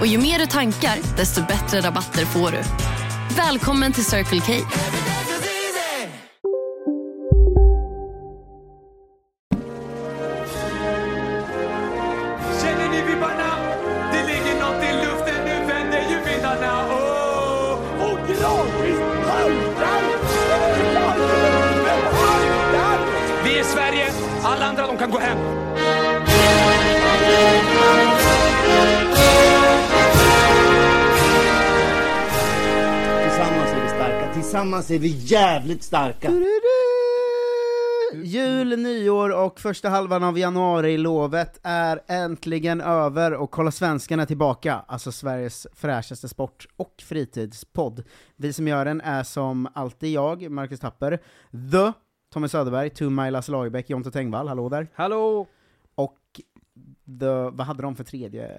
Och ju mer du tankar, desto bättre rabatter får du. Välkommen till Circle K. Känner ni vibbarna? Det ligger något i luften, nu vänder ju vindarna. Åh, och Granqvist haltar! Vi är Sverige, alla andra de kan gå hem. Tillsammans är vi starka, tillsammans är vi jävligt starka! Jul, nyår och första halvan av januari lovet är äntligen över och Kolla Svenskarna är tillbaka, alltså Sveriges fräschaste sport och fritidspodd. Vi som gör den är som alltid jag, Marcus Tapper, The, Tommy Söderberg, Two Mile Lasse Lagerbäck, Jonte Tengvall, hallå där. Hallå! Och The, vad hade de för tredje?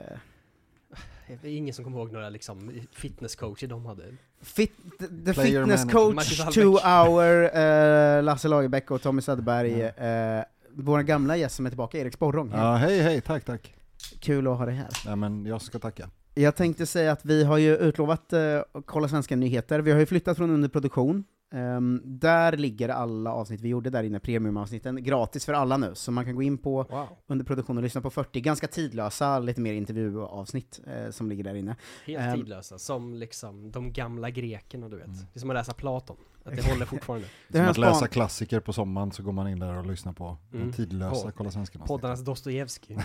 Det är ingen som kommer ihåg några liksom fitnesscoacher de hade. Fit, the Player Fitness manager. Marcus Coach, Hallbäck. Two Hour, eh, Lasse Lagerbäck och Tommy Söderberg. Eh, vår gamla gäst som är tillbaka, Erik Sporrong. Ja, hej hej, tack tack. Kul att ha dig här. Nej men jag ska tacka. Jag tänkte säga att vi har ju utlovat eh, att Kolla Svenska Nyheter, vi har ju flyttat från underproduktion. Ehm, där ligger alla avsnitt vi gjorde där inne, premiumavsnitten, gratis för alla nu. Så man kan gå in på Wow. underproduktion och lyssna på 40 ganska tidlösa, lite mer intervjuavsnitt eh, som ligger där inne. Helt Ehm. Mm. tidlösa, som liksom de gamla grekerna du vet. Det är som att läsa Platon, att det håller fortfarande. Det Som här att är en läsa span- klassiker på sommaren så går man in där och lyssnar på Mm. den tidlösa Podd. Kolla svenskarna Poddarnas Dostojevskij.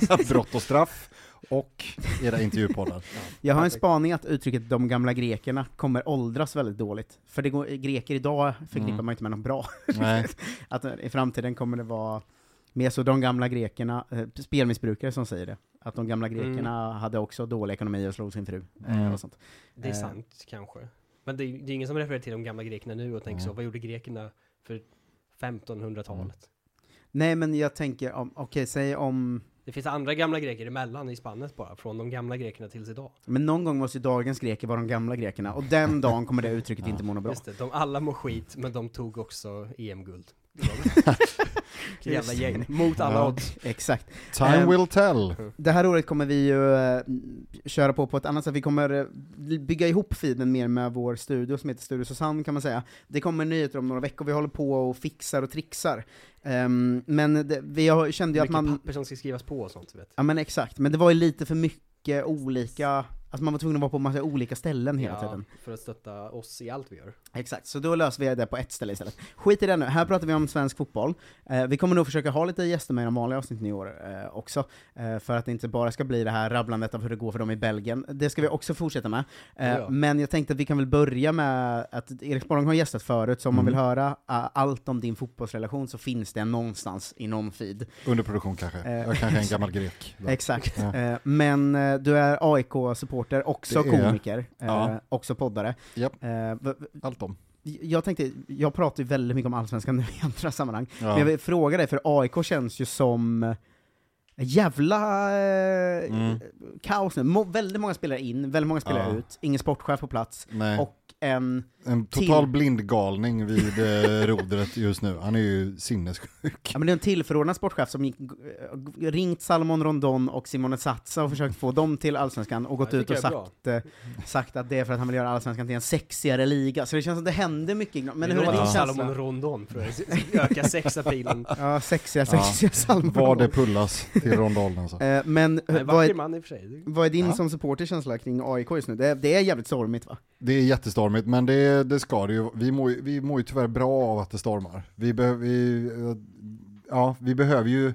Brott och straff och era intervjupoddar. jag har en spaning att uttrycket de gamla grekerna kommer åldras väldigt dåligt. För det går, eh, greker idag förknippar Mm. man inte med något bra. Nej, att eh, i framtiden kommer det vara mer så de gamla grekerna, eh, spelmissbrukare som säger det. Att de gamla grekerna Mm. hade också dålig ekonomi och slog sin fru. eh, Mm. Och sånt. Det är sant kanske. Men det är, det är ingen som refererar till de gamla grekerna nu och tänker så, vad gjorde grekerna för 1500-talet? Nej men jag tänker, om, okej säg om, Det finns andra gamla greker emellan i spannet bara, från de gamla grekerna tills idag. men någon gång måste ju dagens greker vara de gamla grekerna, och den dagen kommer det uttrycket inte må något bra. Just det, de alla mår skit, men de tog också EM-guld. Jävla gäng, mot alla Ja. odds. Exakt. time Ehm. will tell. Det här året kommer vi ju eh, köra på på ett annat sätt, vi kommer eh, bygga ihop feeden mer med vår studio som heter Studio Susanne kan man säga. Det kommer nyheter om några veckor, vi håller på och fixar och trixar. Ehm, men det, vi har, kände ju att Mycket man... papper som ska skrivas på och sånt, du vet. Ja men exakt, men det var ju lite för mycket olika, alltså man var tvungen att vara på massa olika ställen hela tiden. För att stötta oss i allt vi gör. Exakt, så då löser vi det på ett ställe istället. Skit i det nu, här pratar vi om svensk fotboll. Eh, vi kommer nog försöka ha lite gäster med i de vanliga avsnitten i år eh, också, eh, för att det inte bara ska bli det här rabblandet av hur det går för dem i Belgien. Det ska vi också fortsätta med. Eh, Ja. Men jag tänkte att vi kan väl börja med att Erik Sporrong har gästat förut, så om man Mm. vill höra eh, allt om din fotbollsrelation så finns det någonstans i någon feed. Underproduktion kanske. Eh, Jag kanske är en gammal grek. där. Exakt. Ja. Eh, Men eh, du är AIK-supporter, också Det är jag. komiker, eh, Ja. också poddare. Japp, Eh, v- v- allt om. Jag tänkte, jag pratar ju väldigt mycket om Allsvenskan nu i andra sammanhang, men jag Ja. vill fråga dig, för AIK känns ju som eh, jävla eh, Mm. kaos nu. Må, väldigt många spelare in, väldigt många spelare Ja. ut, ingen sportchef på plats, Nej, och en... en till- total blindgalning vid eh, rodret just nu. Han är ju sinnessjuk. Ja, men det är en tillförordnad sportchef som gick, g- ringt Salomon Rondon och Simone Satsa och försökt få dem till Allsvenskan och gått det ut och tycker sagt, jag är eh, sagt att det är för att han vill göra Allsvenskan till en sexigare liga. Så det känns som det händer mycket. Men hur är din Salomon känsla? Rondon för att öka sexapilen. Ja, sexiga, sexiga Salomon Var det Rondon. pullas till rondellen alltså. Eh, Men Nej, eh, vad vacker är, man i och för sig. vad är din Ja. som supporter känsla kring AIK just nu? Det, är- det är jävligt stormigt va? Det är jättestormigt, men det, det ska det ju. Vi mår, ju- vi mår ju tyvärr bra av att det stormar. Vi, behöver- vi, eh, ja, vi behöver ju...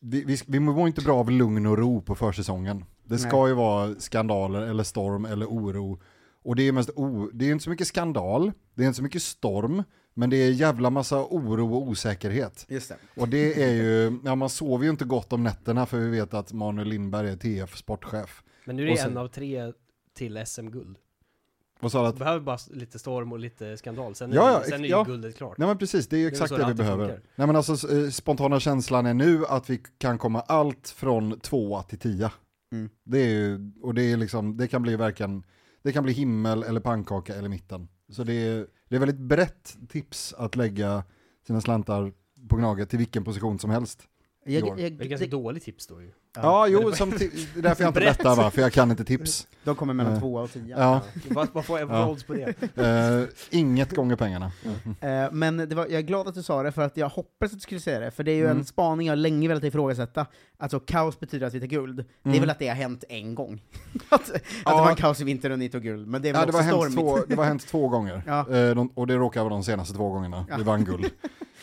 Vi, vi, vi mår inte bra av lugn och ro på försäsongen. Det ska ju vara skandaler eller storm eller oro. Och det är, mest o, det är inte så mycket skandal, det är inte så mycket storm, men det är jävla massa oro och osäkerhet. Just det. Och det är ju, ja man sover ju inte gott om nätterna för vi vet att Manuel Lindberg är TF-sportchef. Men nu är det Och sen- en av tre till SM-guld. Vad sa du? Vi Att, behöver bara s- lite storm och lite skandal, sen är, Ja, ja, sen är ju ja. guldet klart. nej men precis, det är ju Det är exakt så det det vi alltid behöver. funkar. Nej men alltså eh, spontana känslan är nu att vi kan komma allt från tvåa till tia. Mm. Det är ju, och det är liksom, det kan bli verkligen, det kan bli himmel eller pannkaka eller mitten. Så det är, det är väldigt brett tips att lägga sina slantar på Gnaget till vilken position som helst. Jag, Jorn. jag, Det är ganska det- dåligt tips då ju. Ja. Ja, jo, som ti- det är därför jag inte Brett. berättar va, för jag kan inte tips. de kommer mellan Ja. tvåa och tia. Eh. Ja, Vad vad får jag Ja. för odds på det? eh, inget gånger pengarna. Eh, Men det var, jag är glad att du sa det, för att jag hoppades att du skulle säga det, för det är ju Mm. en spaning jag länge velat ifrågasätta. Alltså kaos betyder att vi tar guld. Det är Mm. väl att det har hänt en gång? att, att det Ja. var en kaos i vinter och ni tog guld, men det är väl Ja, det, var också hänt stormigt? två, det var hänt två gånger, Ja. Eh, de, och det råkar vara de senaste två gångerna vi Ja. vann guld.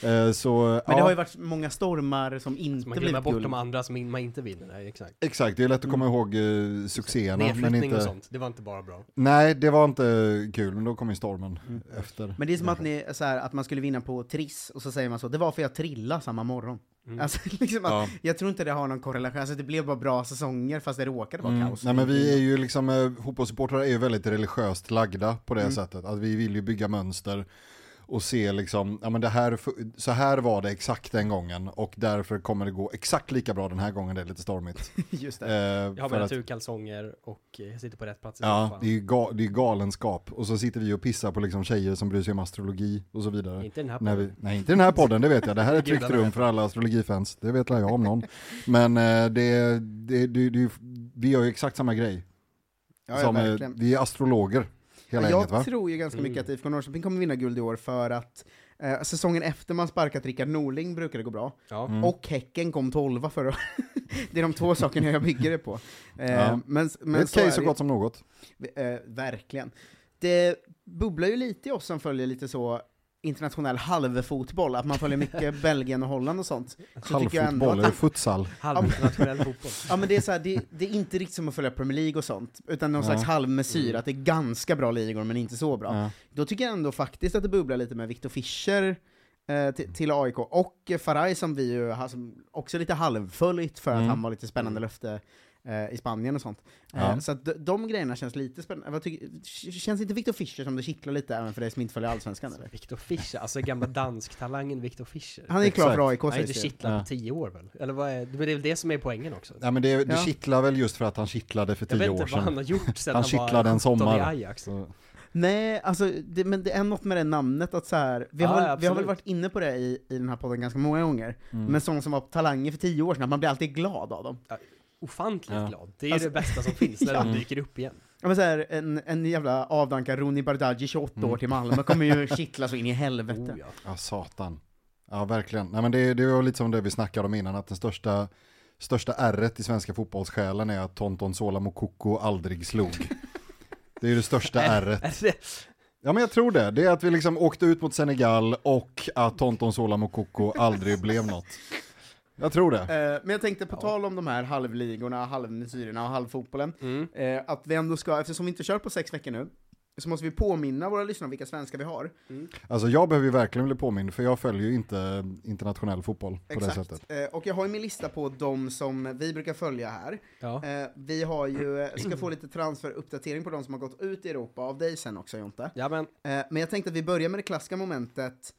Eh, så, eh, Men det ja, har ju varit många stormar som inte Man glömmer blivit bort guld. de andra som in- man inte vinner, nej exakt. exakt, det är lätt att Mm. komma ihåg eh, succéerna, men Nedflyttning inte... och sånt, det var inte bara bra. Nej, det var inte kul, men då kom ju stormen efter. Mm. Men det är som att, ni, så här, att man skulle vinna på Triss, och så säger man så, det var för jag trillade samma morgon. Mm. Alltså, liksom att, Ja. Jag tror inte det har någon korrelation, alltså, det blev bara bra säsonger fast det råkade vara Mm. kaos. Nej men vi är ju liksom, eh, fotbollssupportrar är ju väldigt religiöst lagda på det Mm. sättet. Att vi vill ju bygga mönster och se liksom, ja men det här, fu- så här var det exakt den gången och därför kommer det gå exakt lika bra den här gången, det är lite stormigt. Just Eh, det. Jag har för mina att- turkalsonger och eh, jag sitter på rätt plats i Ja, soffan. det är ju ga- det är ju galenskap. Och så sitter vi och pissar på liksom tjejer som bryr sig om astrologi och så vidare. Inte den här När podden. vi, nej, inte den här podden, det vet jag. Det här är ett tryggt Gudarna rum vet. för alla astrologifans. Det vet jag om någon. Men eh, det, det, det, det, vi gör ju exakt samma grej. Ja, ja, som, eh, verkligen. vi är astrologer, hela jag gänget va? Mm. tror ju ganska mycket att IFK Norrköping kommer vinna guld i år för att eh, säsongen efter man sparkat Rickard Norling brukar det gå bra. Ja. Mm. Och Häcken kom tolva förra året. Det är de två sakerna jag bygger det på. Eh, Ja. Men, Det men är ett så är case så det. gott som något. Eh, verkligen. Det bubblar ju lite i oss som följer lite så internationell halvfotboll, att man följer mycket Belgien och Holland och sånt. Så tycker jag ändå Halvfotboll, är att, det futsal? Halvinternationell fotboll. ja, men det, är så här, det, det är inte riktigt som att följa Premier League och sånt, utan någon Ja. Mm. slags halvmesyr, att det är ganska bra ligor men inte så bra. Ja. Då tycker jag ändå faktiskt att det bubblar lite med Viktor Fischer eh, till- till AIK, och eh, Faraj som vi ju har som också lite halvföljt för att Mm. han var lite spännande löfte eh, i Spanien och sånt. Eh, Ja. så att de, de grejerna känns lite spännande. Vad tycker, k- känns inte Viktor Fischer som det kittlar lite även för dig som inte följer Allsvenskan eller? Viktor Fischer, alltså gamla dansktalangen Viktor Fischer. Han är ju klar Exakt. för AIK Han har sägs inte det. kittlat Ja. på tio år väl? Eller vad är, men det är väl det som är poängen också? Ja, men det, det Ja. kittlar väl just för att han kittlade för Jag vet tio inte år vad han sedan. har gjort sedan Han han, var kittlade en 17 sommar. i Ajax. Så, Nej, alltså, det, men det är något med det namnet att så här, vi, Ja, har, väl- ja, vi har väl absolut. Mm. varit inne på det i, i den här podden ganska många gånger, men sådana som var talanger för tio år sedan, att man blir alltid glad av dem. Ofantligt Ja. glad. Det är ju Alltså- det bästa som finns när Ja. de dyker upp igen. Ja, men så här, en, en jävla avdankad Roni Bardghji, 28 år, till Malmö kommer ju kittla så in i helvete. Mm. Oh, ja. Ja, satan. Ja, verkligen. Nej, men det, det var lite som det vi snackade om innan, att den största, största ärret i svenska fotbollssjälen är att Tonton Sola Mokoko aldrig slog. Det är ju det största ärret. Alltså, det- Ja, men jag tror det. Det är att vi liksom åkte ut mot Senegal och att Tonton Sola Mokoko aldrig blev något. Jag tror det. Eh, men jag tänkte, på tal om de här halvligorna, halvmesyrerna och halvfotbollen, Mm. eh, att vi ändå ska, eftersom vi inte kör på sex veckor nu, så måste vi påminna våra lyssnare om vilka svenskar vi har. Alltså jag behöver ju verkligen bli påmind, för jag följer ju inte internationell fotboll på det sättet. Eh, och jag har ju min lista på de som vi brukar följa här. ja. Eh, vi har ju, eh, ska få lite transferuppdatering på de som har gått ut i Europa, av dig sen också Jonte. ja, men Eh, men jag tänkte att vi börjar med det klassiska momentet.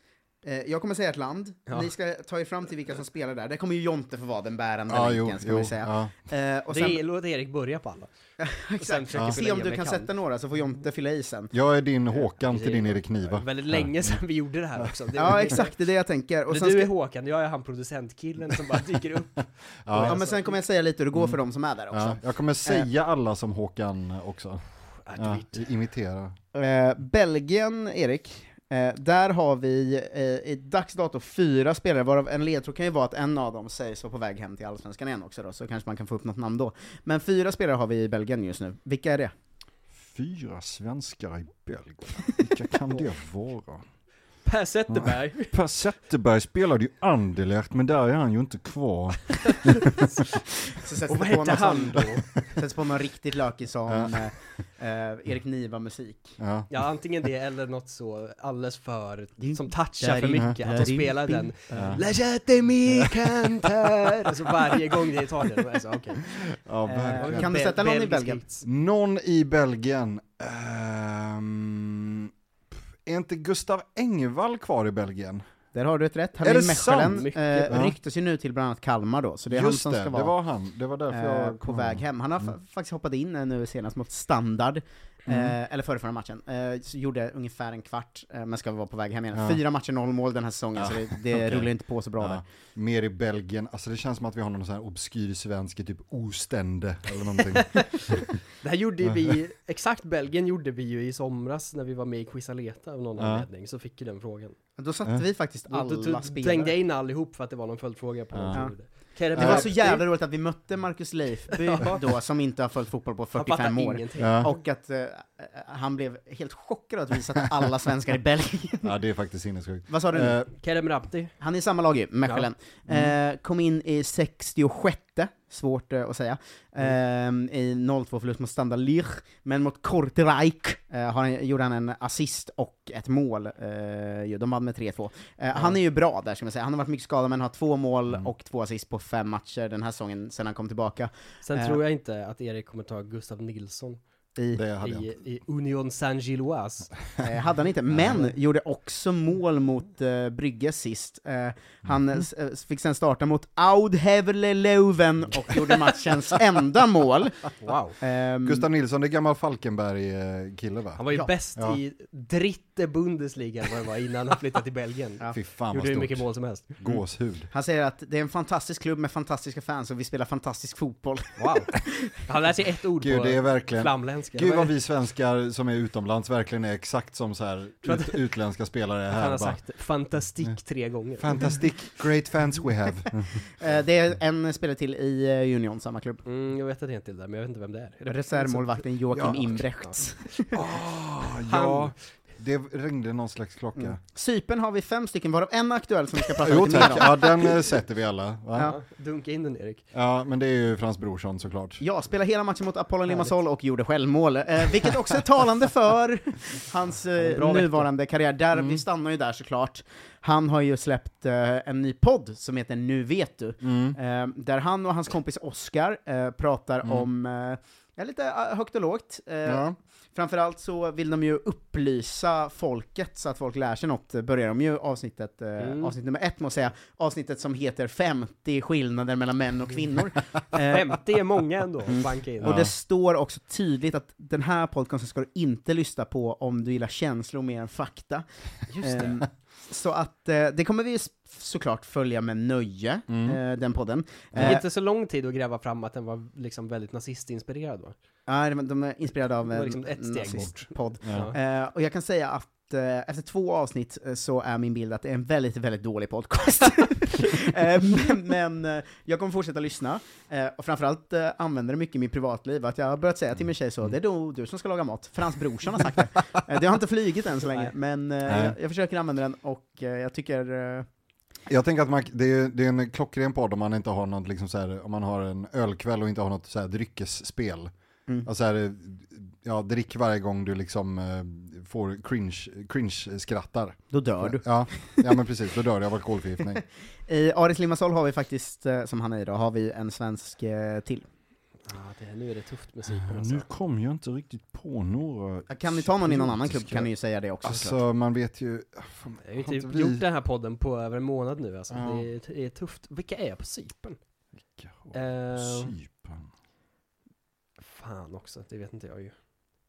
Eh, jag kommer säga ett land, Ja. ni ska ta er fram till vilka som spelar där. Det kommer ju Jonte få vara den bärande Ja, jo, länken, ska jo, vi säga. ja. Eh, och det sen, är, låt Erik börja på alla. och sen exakt. försöker Se fylla om i du jag kan sätta några, så får Jonte fylla i sen. Jag är din Håkan till din Erik Det var Niva. väldigt länge sedan vi gjorde det här också. Det, Ja, exakt, det är det jag tänker. Och Men sen, du är ska, Håkan, jag är han producentkillen som bara dyker upp. ja, men sen kommer jag säga lite hur det Mm. går för de som är där också. Eh. Ja, jag kommer säga alla som Håkan också. Ja, Advit. imitera. Eh, Belgien, Erik. Eh, där har vi eh, i dags dato fyra spelare, varav en ledtråd kan ju vara att en av dem sägs vara på väg hem till Allsvenskan igen också då, så kanske man kan få upp något namn då. Men fyra spelare har vi i Belgien just nu. Vilka är det? Fyra svenskar i Belgien. Vilka kan det vara? Per Zetterberg. Per Zetterberg spelade ju Anderlecht, men där är han ju inte kvar. Så sätts Och det vad på hette någon han sån- då? Sätts på någon riktigt lökig sån eh, eh, Erik Niva-musik. Ja. Ja, antingen det eller något så alldeles för, Din- som touchar för Darin- mycket. Att de Darin- spelar den. Ja. Lajate mi cantar. Alltså varje gång det är Italien. Alltså, okej. Ja, Eh, verkligen. kan du Be- sätta någon i belgisk Belgien? hits. Någon i Belgien. Ehm, pff, är inte Gustav Engvall kvar i Belgien? Där har du ett rätt, han Är är i det Mechelen, sant? eh, Ja. ryktas ju nu till bland annat Kalmar då, så det är han Just som det, ska vara det var han. Det var därför eh, jag på väg hem. Han har Mm. fa- faktiskt hoppat in eh, nu senast mot Standard, Mm. eh, eller förra, förra matchen, eh, så gjorde ungefär en kvart, eh, men ska vara på väg hem igen. Ja. Fyra matcher, noll mål den här säsongen, så det, det okej. rullar inte på så bra där. Ja, mer i Belgien. Alltså det känns som att vi har någon sån här obskyr svensk i typ Ostende eller någonting. Det här gjorde ju vi, exakt Belgien gjorde vi ju i somras när vi var med i Quisaleta av någon Ja. anledning, så fick ju den frågan. Men Då satte Ja. vi faktiskt Och då alla tog- slängde spelare. jag in allihop för att det var någon följdfråga på någon Ja. som gjorde det. Kerem Det var så Bakti, jävla roligt att vi mötte Marcus Leifby Ja. då, som inte har följt fotboll på Han fattar 45 år. ingenting. ja. Och att eh, han blev helt chockad att vi satte alla svenskar i Belgien. ja, det är faktiskt sinnessjukt. Vad sa du nu? Eh, Kerem Rapti. Han är i samma lag ju, Mechelen. Eh, kom in i 66, svårt eh, att säga, eh, i 0-2 förlust mot Standard Lich, men mot Kortrijk eh, har han, gjorde han en assist och ett mål. Eh, ju. de vann med 3-2. Eh, Han är ju bra där, ska man säga. Han har varit mycket skadad, men har två mål och två assist på fem matcher den här säsongen sedan han kom tillbaka. Sen Eh. tror jag inte att Erik kommer ta Gustav Nilsson I, det hade jag i, inte. i Union Saint-Gilloise. eh, hade han inte, men gjorde också mål mot eh, Brygge sist. Eh, han Mhm. eh, s- eh, fick sen starta mot Oudhevle Löven och gjorde matchens enda mål. Wow. Ehm, Gustav Nilsson, det är gammal Falkenberg-kille va? Mm. Han var ju Ja. bäst Ja. i dritte Bundesliga vad det var innan han flyttade till Belgien. Ja. Fy fan vad Gjorde hur mycket stort. mål som helst. Gåshud. han säger att det är en fantastisk klubb med fantastiska fans och vi spelar fantastisk fotboll. Wow. Han lär sig ett ord Gud, på det är verkligen... flamländska. Gud vad vi vi svenskar som är utomlands verkligen är exakt som så här Tror att- ut, utländska spelare är han har här. Bara, sagt fantastik tre gånger. Fantastic, great fans we have. Eh, det är en spelare till i eh, Union, samma klubb. Mm, jag vet att det är en till där, men jag vet inte vem det är. är. det- Reservmålvakten Joakim Ja. Imbrechts. Ah, ja, det ringde någon slags klocka. Mm. Cypern har vi fem stycken, varav en är aktuell som vi ska prata Jo lite mer tack, om. ja den eh, sätter vi alla. Va? Ja. Ja. Alltså, Ja, dunka in den Erik. men det är ju Frans Brorsson såklart. Ja, spelade hela matchen mot Apollon Limassol och gjorde självmål, eh, vilket också är talande för hans eh, Bra vecka. Mm. nuvarande karriär. Där, Vi stannar ju där såklart. Han har ju släppt eh, en ny podd som heter Nu vet du, Mm. eh, där han och hans kompis Oscar eh, pratar Mm. om eh, ja, lite eh, högt och lågt. Eh, Ja. Framförallt så vill de ju upplysa folket så att folk lär sig något, eh, börjar de ju avsnittet, eh, Mm. avsnitt nummer ett med att säga, avsnittet som heter 50 skillnader mellan män och kvinnor. Eh, 50 är många ändå, banka in. och det står också tydligt att den här podcasten ska du inte lyssna på om du gillar känslor mer än fakta. Ehm, så att eh, det kommer vi ju s- såklart följa med nöje, eh, den podden. Mm. Det Eh, är inte så lång tid att gräva fram att den var liksom väldigt nazistinspirerad va? ja, de- de är inspirerade av Det var en liksom ett steg bort. nazistpodd. Ja. Eh, och jag kan säga att eh, efter två avsnitt eh, så är min bild att det är en väldigt, väldigt dålig podcast. eh, men men eh, jag kommer fortsätta lyssna, eh, och framförallt eh, använder det mycket i mitt privatliv, att jag har börjat säga till min tjej så, det är då du som ska laga mat, för hans brorson har sagt det. Eh, det har inte flugit än så länge, Nej. men eh, Nej. jag, jag försöker använda den och eh, jag tycker... Eh, Jag tänker att man, det, är, det är en klockren podd om man inte har något, liksom så här, om man har en ölkväll och inte har något så här dryckesspel. Mm. Alltså här, eh, ja, drick varje gång du liksom eh, får cringe, cringe skrattar. då dör du. Ja, ja men precis, då dör jag av alkoholförgiftning. I Aris Limassol har vi faktiskt, eh, som han är idag, har vi en svensk eh, till. Ah, det, nu är det tufft med Cypern alltså. kom jag inte riktigt på några... Kan ni ta någon i någon annan klubb kan ni ju säga det också såklart. Alltså man vet ju... Fan, Jag har ju har typ inte vi- gjort den här podden på över en månad nu alltså. Ja. Det, är, det är tufft. Vilka är på Cypern? Vilka har- Äh. Eh, Cypern. fan också, det vet inte jag ju.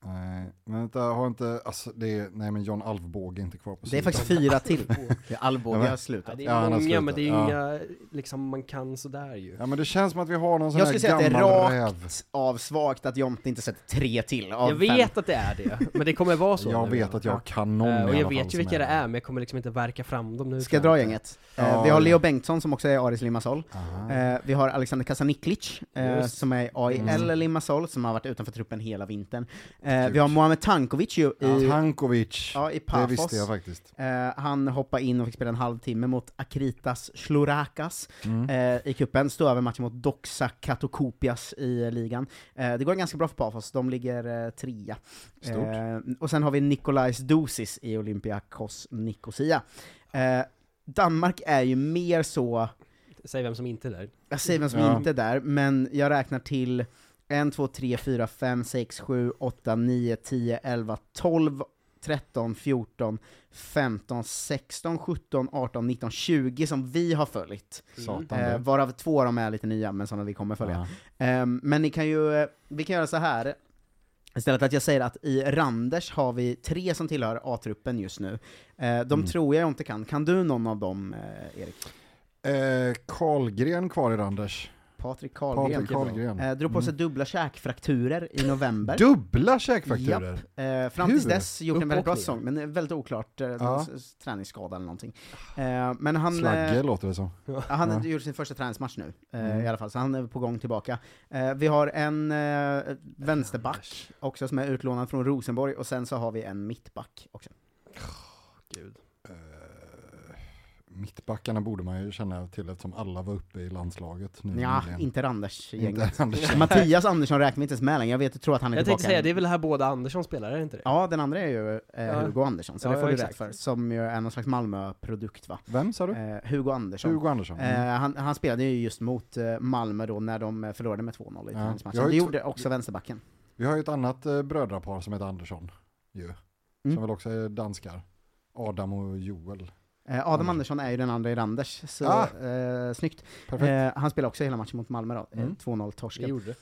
Nej, men vänta, har inte, alltså det är, nej men John Alvbåge är inte kvar på Det är faktiskt Cypern. fyra till. Alvbåge Ja, har Ja, slutat. det är Ja, han har många, slutat. men det är Ja. inga liksom man kan sådär ju. Ja men det känns som att vi har någon sån Jag här skulle säga att det är gammal räv. rakt av svagt att Jonte inte sett tre till av Jag fem. vet att det är det, men det kommer vara så. Jag nu. vet att Ja. jag kan någon i Eh, Och jag alla vet fall ju som vilka det är, men jag kommer liksom inte verka fram dem nu. Ska jag dra gänget? Eh, Ja, vi har Leo ja. Bengtsson som också är Aris Limassol. Aha. Eh, vi har Alexander Kasaniklic, eh, Just. som är AIL Mm. Limassol, som har varit utanför truppen hela vintern. Eh, vi Kul. har Mohamed med Tankovic ju i, Tankovic, ja, i det Pafos. visste jag faktiskt. Eh, han hoppade in och fick spela en halvtimme mot Akritas Shlorakas eh, i kuppen stod över matchen mot Doxa Katokopias i eh, ligan. Eh, det går ganska bra för Pafos, de ligger eh, trea. Stort. Eh, och sen har vi Nikolajs Dosis i Olympiakos Nicosia. Eh, Danmark är ju mer så, Säg vem som inte är där. jag säger vem som Ja. inte är där, men jag räknar till 1, 2, 3, 4, 5, 6, 7, 8, 9, 10, 11, 12, 13, 14, 15, 16, 17, 18, 19, 20 som vi har följt. Satan Eh, det. varav två av dem är lite nya, men sådana vi kommer följa. Ja. Ehm, men ni kan ju, eh, vi kan göra så här istället att jag säger att i Randers har vi tre som tillhör A-truppen just nu. Eh, de Mm. tror jag inte kan. Kan du någon av dem, eh, Erik? Eh, Karlgren kvar i Randers. Patrik Karlgren. Patrik Karlgren. Eh, drog på Mm. sig dubbla käkfrakturer i november. Dubbla käkfakturer! Eh, fram tills Hur? dess gjort en väldigt bra Uppåkning. säsong, men det är väldigt oklart, eh, Ja. någon s- s- träningsskada eller någonting. Eh, men han, Slagge eh, låter det som. han Ja. Mm. gjorde sin första träningsmatch nu, eh, i alla fall, så han är på gång tillbaka. Eh, vi har en eh, vänsterback också som är utlånad från Rosenborg, och sen så har vi en mittback också. Gud. Eh, Mittbackarna borde man ju känna till eftersom alla var uppe i landslaget nu. Ja, nyligen. inte Randers Mm, inte gänget. Anders. Mattias Andersson räknar vi inte ens med längre, jag vet, jag tror att han är Jag tillbaka. tänkte säga, det är väl här båda Andersson spelar, är det inte det? Ja, den andra är ju eh, Hugo Andersson, så Ja, det får ja, du exakt. rätt för. Som ju är någon slags Malmö-produkt va? Vem sa du? Eh, Hugo Andersson. Hugo Andersson. Mm. Eh, han, han spelade ju just mot eh, Malmö då när de eh, förlorade med 2-0 i Ja. Jag träningsmatchen. har Det ju gjorde också vänsterbacken. Vi har ju ett annat eh, brödrapar som heter Andersson. Ju, Mm. Som väl också är danskar. Adam och Joel. Eh, Adam Andersson är ju den andra i Randers, så Ah. eh, snyggt. Perfekt. Mm. Eh, han spelade också hela matchen mot Malmö då, eh, 2-0 Det torsken. gjorde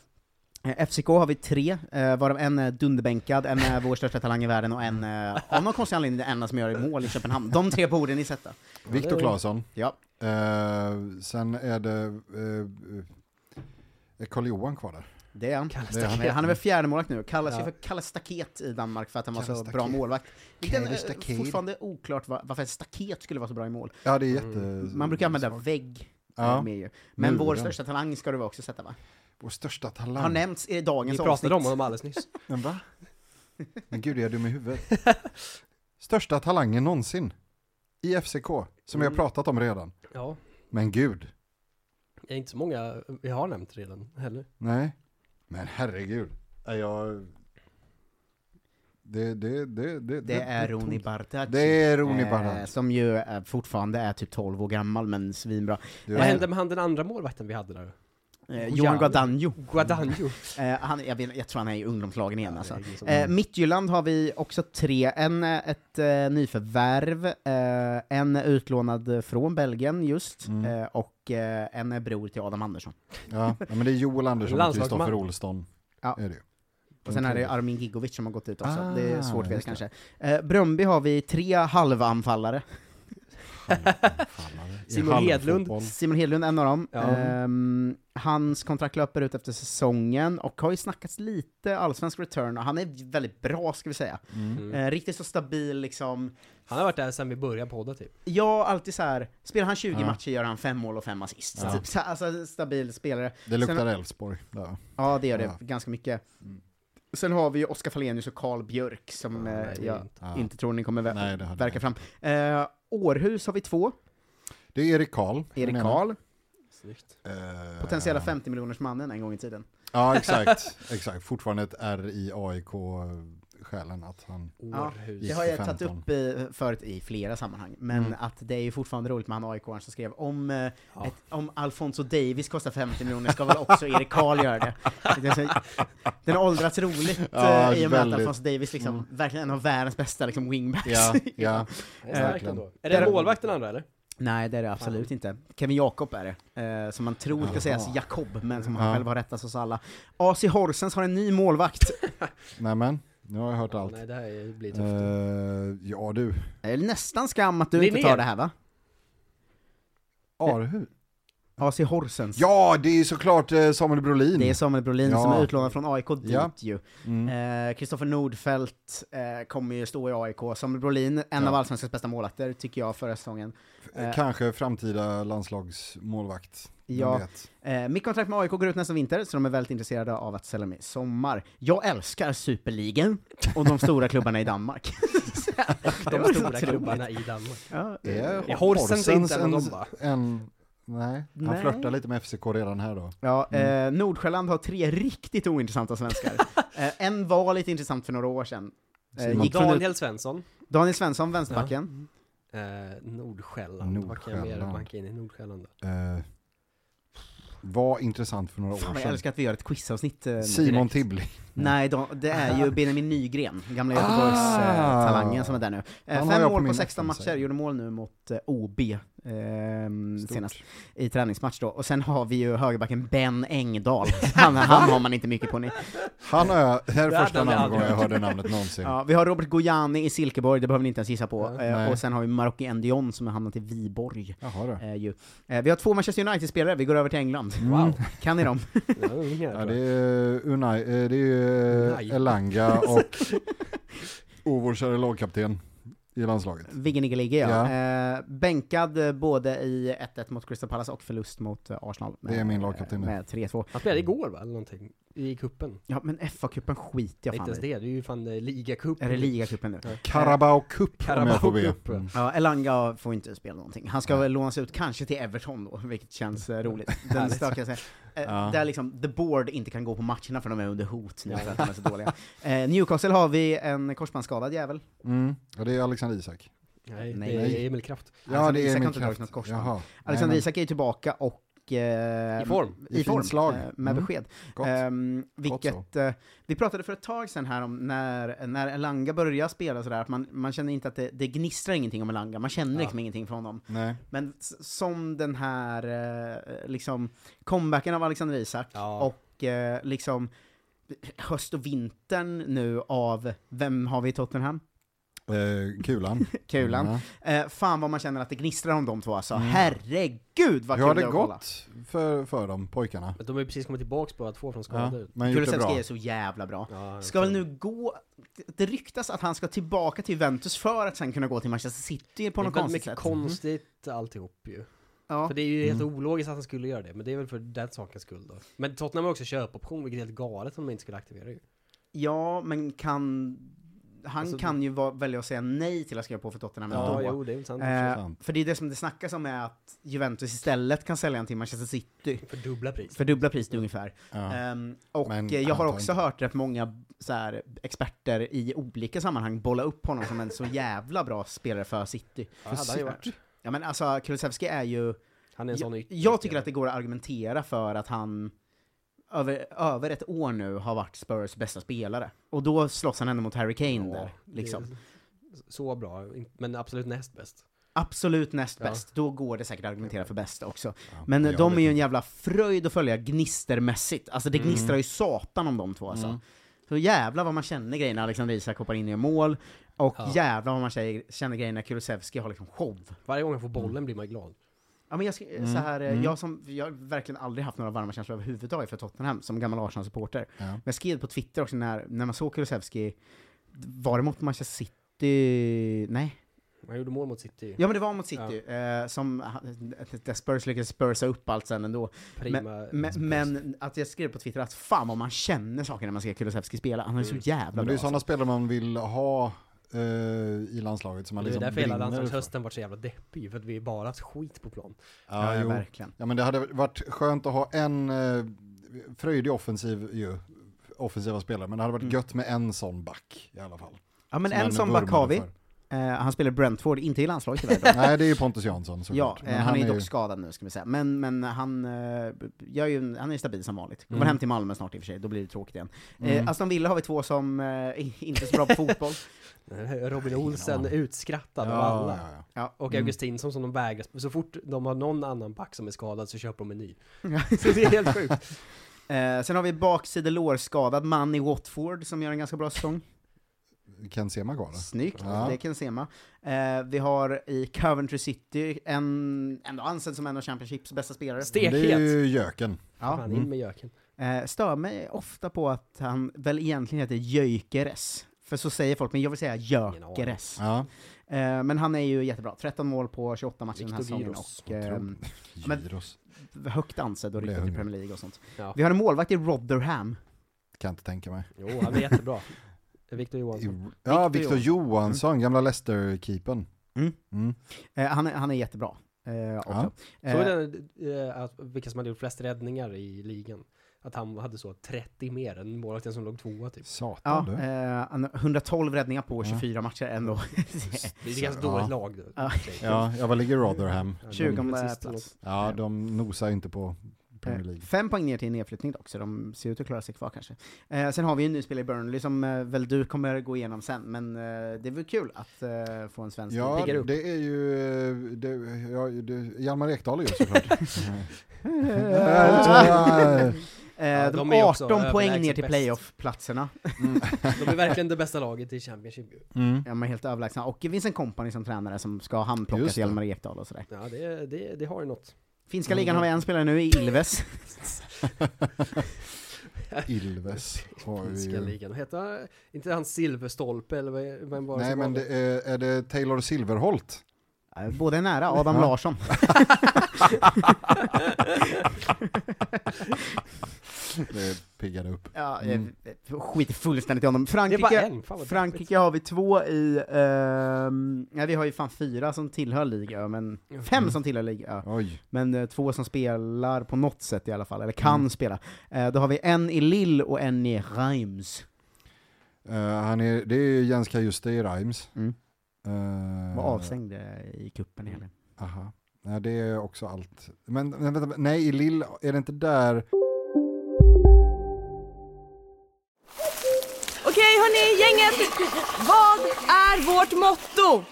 det. Eh, FCK har vi tre, eh, varav en är dunderbänkad, en är vår största talang i världen och en, eh, av någon konstig anledning, den enda som gör mål i Köpenhamn. De tre borde ni sätta. Viktor Claesson. Ja. Eh, sen är det... Eh, är Karl-Johan kvar där? Det är han. Det är han. Eh, Han är väl fjärdemålvakt nu, kallas ju Ja. för Kalle Staket i Danmark för att han var Kalle så Staket. bra målvakt. Vilken, Kalle eh, Staket. fortfarande oklart va- varför ett staket skulle vara så bra i mål. Ja, Mm, det är jätte... Mm. Man brukar använda vägg Ja. eh, med ju. Men Muren. vår största talang ska du väl också sätta va? Vår största talang. Har nämnts i Vi dagens avsnitt. pratade om honom alldeles nyss. Men va? Men gud, är jag dum i huvudet? Största talangen någonsin i FCK, som Mm. jag pratat om redan. Ja, Men gud, det är inte så många vi har nämnt redan heller. nej. Men herregud. Nej, Jag... Det, det, det, det, Det är tog- Roni Bartaci. Det är Roni Bartaci. som ju eh, fortfarande är typ 12 år gammal, men svinbra. Du- Vad hände med han den andra målvakten vi hade där? Eh, Oh, Johan jävlar. Guadagno. Guadagno. Eh, han, jag, vet, jag tror han är i ungdomslagen igen alltså. ingen som- Eh, Midtjylland har vi också tre. En, eh, ett eh, nyförvärv, eh, en är utlånad från Belgien just, eh, och eh, en är bror till Adam Andersson. Ja, ja, men det är Joel Andersson och Landslagsman. Kristoffer Olsson. Ja. Är det. ju. Och sen är det Armin Gigovic som har gått ut också, Ah, det är svårt för er just kanske. Eh, Bröndby har vi tre halvanfallare. I Simon Hedlund. halvfotboll. Simon Hedlund är en av dem. Ja. Ehm, hans kontrakt löper ut efter säsongen och har ju snackats lite allsvensk return och han är väldigt bra ska vi säga. Eh, riktigt så stabil liksom. Han har varit där sedan vi började podda typ. Jag alltid så här, spelar han 20 Ja. matcher gör han fem mål och fem assist. Ja. Typ, så, här, alltså en stabil spelare. Det luktar Sen, Elfsborg. Ja. ja det gör det Ja. Mm. ganska mycket. Sen har vi ju Oskar Fallenius och Karl Björk som eh, nej, det är jag inte. Ja. inte tror ni kommer vä- Nej, det hade verka fram. Eh, Århus har vi två, Det är Erik Karl. Erik den ena. Karl, Snyggt. Eh, potentiella 50 miljoners mannen en gång i tiden. Ja, exakt. exakt. Fortfarande ett R i AIK-själen att han... Ja, Århus. det har jag tagit 15. upp eh, förut i flera sammanhang, men Mm. att det är ju fortfarande roligt med han aik som skrev om, eh, ett, om Alfonso Davis kostar 50 miljoner ska väl också Erik Karl göra det. det är så, den har åldrats roligt eh, Ja, i och med att väldigt. Mm. Alfonso Davis liksom, verkligen är en av världens bästa liksom, wingbacks. Ja, ja. Det är starkt Verkligen. ändå. Eh, Är det en målvakt den andra eller? Nej det är det absolut inte. Kevin Jakob är det, eh, som man tror ska sägas Jakob, men som han Ja. själv har rättat oss alla. AC Horsens har en ny målvakt. Nämen, nu har jag hört allt. Nej, det här är- blir tufft. Eh, ja du, Det är nästan skam att du inte Linné. tar det här va? Arhus? AC Horsens. Ja, det är såklart eh, Samuel Brolin. Mm. Det är Samuel Brolin som Ja. är utlånad från AIK dit Ja. ju. Eh, Kristoffer Nordfeldt eh, kommer ju stå i AIK. Samuel Brolin, en av allsvenskans bästa målvakter, tycker jag, förra säsongen. Eh, Kanske framtida landslagsmålvakt. Vem Ja. vet? Eh, mitt kontrakt med AIK går ut nästa vinter, så de är väldigt intresserade av att sälja mig i sommar. Jag älskar Superligan och de stora klubbarna i Danmark. De stora klubbarna i Danmark. Ja, Är Är Horsens inte en av dem, va? Eh, en, en, Nej, han Nej. flörtar lite med FCK redan här då. Ja, Mm. eh, Nordsjälland har tre riktigt ointressanta svenskar. eh, en var lite intressant för några år sedan. Eh, Simon gick från ut- Daniel Svensson. Daniel Svensson, vänsterbacken. Eh, Nordsjälland. Vad kan jag mer Nordsjälland. banka in i Nordsjälland? då? Eh, var intressant för några Fan, år jag sedan. älskar att vi gör ett quizavsnitt. Eh, Simon direkt. Tibbling. Nej, då, det är ju Benjamin Nygren, gamla Ah! Göteborgs-talangen som är där nu. Eh, Han har jag fem på mål på min 16 näthinna, matcher, säger. gjorde mål nu mot eh, OB ehm, senast, i träningsmatch då. Och sen har vi ju högerbacken Ben Engdahl, han, han har man inte mycket på. Ni. Han är, det här Det är hade första han namn aldrig gången jag hörde namnet någonsin. Ja, vi har Robert Gojani i Silkeborg, det behöver ni inte ens gissa på. Ja. Eh, Nej. och sen har vi Marocki Endion som har hamnat i Viborg. Jaha du. Eh, ju. Eh, vi har två Manchester United-spelare, vi går över till England. Mm. Wow. Kan ni dem? Ja, det är unga, Ja, tror jag. det är Unai, eh, det är Unai. eh, Elanga och och vår kära lagkapten i landslaget. Viggeniggeligge ja. Eh, bänkad eh, både i 1-1 mot Crystal Palace och förlust mot eh, Arsenal. Det är min lagkapten nu. Med 3-2. Han spelade igår va, eller någonting? I cupen? Ja men FA-cupen skiter jag Inte fan ens i. det, det är ju fan eh, ligacupen. Är det ligacupen nu? Carabao Cup om jag får Carabao be. Cup. Mm. Ja, Elanga får inte spela någonting. Han ska väl lånas ut kanske till Everton då, vilket känns eh, roligt. Den stökiga sig. Eh, Ja. Där liksom the board inte kan gå på matcherna för de är under hot nu för att de är så dåliga. Eh, Newcastle har vi en korsbandsskadad jävel. Mm. Ja, det är Alexander Isak. Nej, Nej. det är Emil Kraft. Ja, det Isak är har min inte dragit kraft. något korsband. Jaha. Alexander Nej, Isak är ju tillbaka och... eh, I form. I, I form, fint slag. eh, med Mm. besked. men gott. Ehm, Gott vilket, eh, vi pratade för ett tag sedan här om när, när Elanga börjar spela sådär, att man, man känner inte att det, det gnistrar ingenting om Elanga, man känner liksom ingenting från honom. Nej. Men s- som den här eh, liksom, comebacken av Alexander Isak Ja. och eh, liksom höst och vintern nu av, vem har vi i Tottenham? Eh, kulan. Kulan. Ja. Eh, fan vad man känner att det gnistrar om de två alltså, herregud vad Mm. Hur kul har det det är att kolla! gått för, för de pojkarna? Men De har ju precis kommit tillbaks båda två från Ja, skador. men gjort det Kulusevski bra. är så jävla bra. Ja, Ska väl nu gå... Det ryktas att han ska tillbaka till Juventus för att sen kunna gå till Manchester City på det är väldigt något konstigt mycket sätt. konstigt alltihop ju. Ja. Mm. För det är ju helt ologiskt att han skulle göra det, men det är väl för den sakens skull då. Men Tottenham har också köpoption, vilket är helt galet om de inte skulle aktivera ju. ja, men kan... Han Alltså, kan ju va- välja att säga nej till att skriva på för Tottenham Ja, ändå. jo, det är väl sant. eh, sant. för det är det som det snackas om är att Juventus istället kan sälja honom till Manchester City. För dubbla pris. För dubbla priset ungefär. Ja. Ehm, och Men eh, jag har han tar också inte- hört rätt många så här, experter i olika sammanhang bolla upp honom som en så jävla bra spelare för City. Ja, hade han ju varit. Ja men alltså, Kulusevski är ju... Han är en sån jag, ytterligare. jag tycker att det går att argumentera för att han över, över ett år nu har varit Spurs bästa spelare. Och då slåss han ändå mot Harry Kane Ja, där. Liksom. det är Så bra, in- men absolut näst bäst. Absolut näst Ja. bäst, då går det säkert att argumentera för bästa också. Ja, Men jag de vet är ju en inte. jävla fröjd att följa gnistermässigt. Alltså Mm. det gnistrar ju satan om de två alltså. Så jävla vad man känner grejer när Alexander Isak hoppar in i mål, och Ja. jävla vad man säger- känner grejer när Kulusevski har liksom show. Varje gång han får Mm. bollen blir man glad. Ja, men jag, ska, Mm, så här, eh, jag, som, jag har verkligen aldrig haft några varma känslor överhuvudtaget för Tottenham, som gammal Arsenal-supporter. Ja. Men jag skrev på Twitter också när, när man såg Kulusevski, var det mot Manchester City? Nej. Han gjorde mål mot City ju. Ja men det var mot City, eh, som han- där Spurs lyckades spursa upp allt sen ändå. Prima. Men, men att jag skrev på Twitter att fan vad man känner saker när man ser Kulusevski spela, han är så jävla Mm. Men det är bra. ju sådana spelare man vill ha eh, i landslaget som man det är liksom därför hela brinner landslagshösten varit så jävla deppig, för att vi bara haft skit på plan. för. Ja, Ja, ja, jo. verkligen. ja, men det hade varit skönt att ha en eh, fröjdig offensiv ju, offensiva spelare, men det hade varit gött med en sån back i alla fall. Ja Mm. men Som en man som vurmade back har vi, för. eh, han spelar i Brentford, inte i landslaget tyvärr då. Nej, det är ju Pontus Jansson Ja, såklart. eh, han, är dock skadad nu ska vi säga. Men, men han, eh, gör ju, en- han är stabil som vanligt. Kommer hem till Malmö snart i och för sig, då blir det tråkigt igen. Eh, Aston Villa har vi två som eh, i- inte är så bra på fotboll. Robin Olsen utskrattad av Ja, alla. ja, ja. Ja. Och Augustinsson som de vägrar sp- Så fort de har någon annan back som är skadad så köper de en ny. Så det är helt sjukt. Eh, sen har vi baksidelårskadad man i Watford som gör en ganska bra säsong. Ken Sema kvar. Snyggt, Ja. det kan Sema. Eh, vi har i Coventry City, en, ändå ansedd som en av Championships bästa spelare. Det är Stekhet! ju Jöken. Ja. Fan, in med göken. Eh, stör mig ofta på att han väl egentligen heter Jökeres. För så säger folk, men jag vill säga Jökeres. Ja. Eh, men han är ju jättebra, 13 mål på 28 matcher den här Victor säsongen. Gyros. Och, ehm, Men- Gyros. högt ansedd och Blev ryktet i hungrig. Premier League och sånt. Ja. Vi har en målvakt i Rotherham. Kan jag inte tänka mig. Jo, han är jättebra. Victor Johansson. I- Ja, Victor Johansson. Johansson, gamla Leicester-keepern. Mm. Mm. Eh, han, är, han är jättebra. Eh, Såg också. du Eh, den, eh, att vilka som hade gjort flest räddningar i ligan? Att han hade så 30 mer än målvakten som låg tvåa typ. Ja, Satan du. eh, han har 112 räddningar på 24 matcher ändå. Det är ett ganska dåligt Ja. lag. då. Ja. Ja, jag var ligger Rotherham. 20 de är sist eller plats. Ja, de nosar ju inte på Premier Eh, League. Fem poäng ner till nedflyttning dock, så de ser ut att klara sig kvar kanske. Eh, sen har vi ju en ny spelare i Burnley som eh, väl du kommer gå igenom sen, men eh, det är väl kul att eh, få en svensk Ja, piggar upp. det är ju... eh, Det, ja, det, Hjalmar Ekdal är ju Mm. såklart. Eh, Ja, de de har är också 18 poäng ner överlägset till bäst. playoff-platserna. De är verkligen det bästa laget i Championship. ju. mm. Ja, de är helt överlägsna. Och Vincent Kompany som tränare som ska Just handplockas det. Hjalmar Ekdal och sådär. Ja, det, det, det har ju något. Finska Mm. ligan har vi en spelare nu i Ilves. Ilves har vi Finska ju. ligan. Heter inte han Silverstolpe eller vad- vem var det Nej, som men var det är, är det Taylor Silverholt? Eh, Båda är nära, Adam Ja. Larsson. Det piggade upp. Ja, Mm. eh, skiter fullständigt i honom. Det är bara Frankrike, en, fan vad Frankrike har vi två i, ehm, ja vi har ju fan fyra som tillhör Liga, men Mm. Ja. fem som tillhör Liga. Oj. Men eh, två som spelar på något sätt i alla fall, eller kan Mm. spela. Eh, då har vi en i Lille och en i Reims. Eh, han är, det är ju Jens Kajuste i Rimes. Mm. Eh, Var avstängd eh, i cupen i helgen. Aha. Nej, det är också allt. Men, men vänta, nej, i Lill, är det inte där? Okej hörni, gänget! Vad är vårt motto?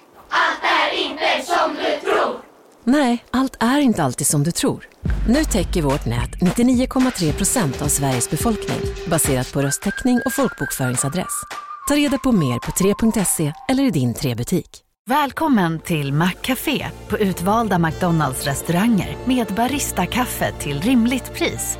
Nej, allt är inte alltid som du tror. Nu täcker vårt nät 99,3 procent av Sveriges befolkning baserat på röstteckning och folkbokföringsadress. Ta reda på mer på 3.se eller i din 3-butik. Välkommen till Maccafé på utvalda McDonalds restauranger med Baristakaffe till rimligt pris.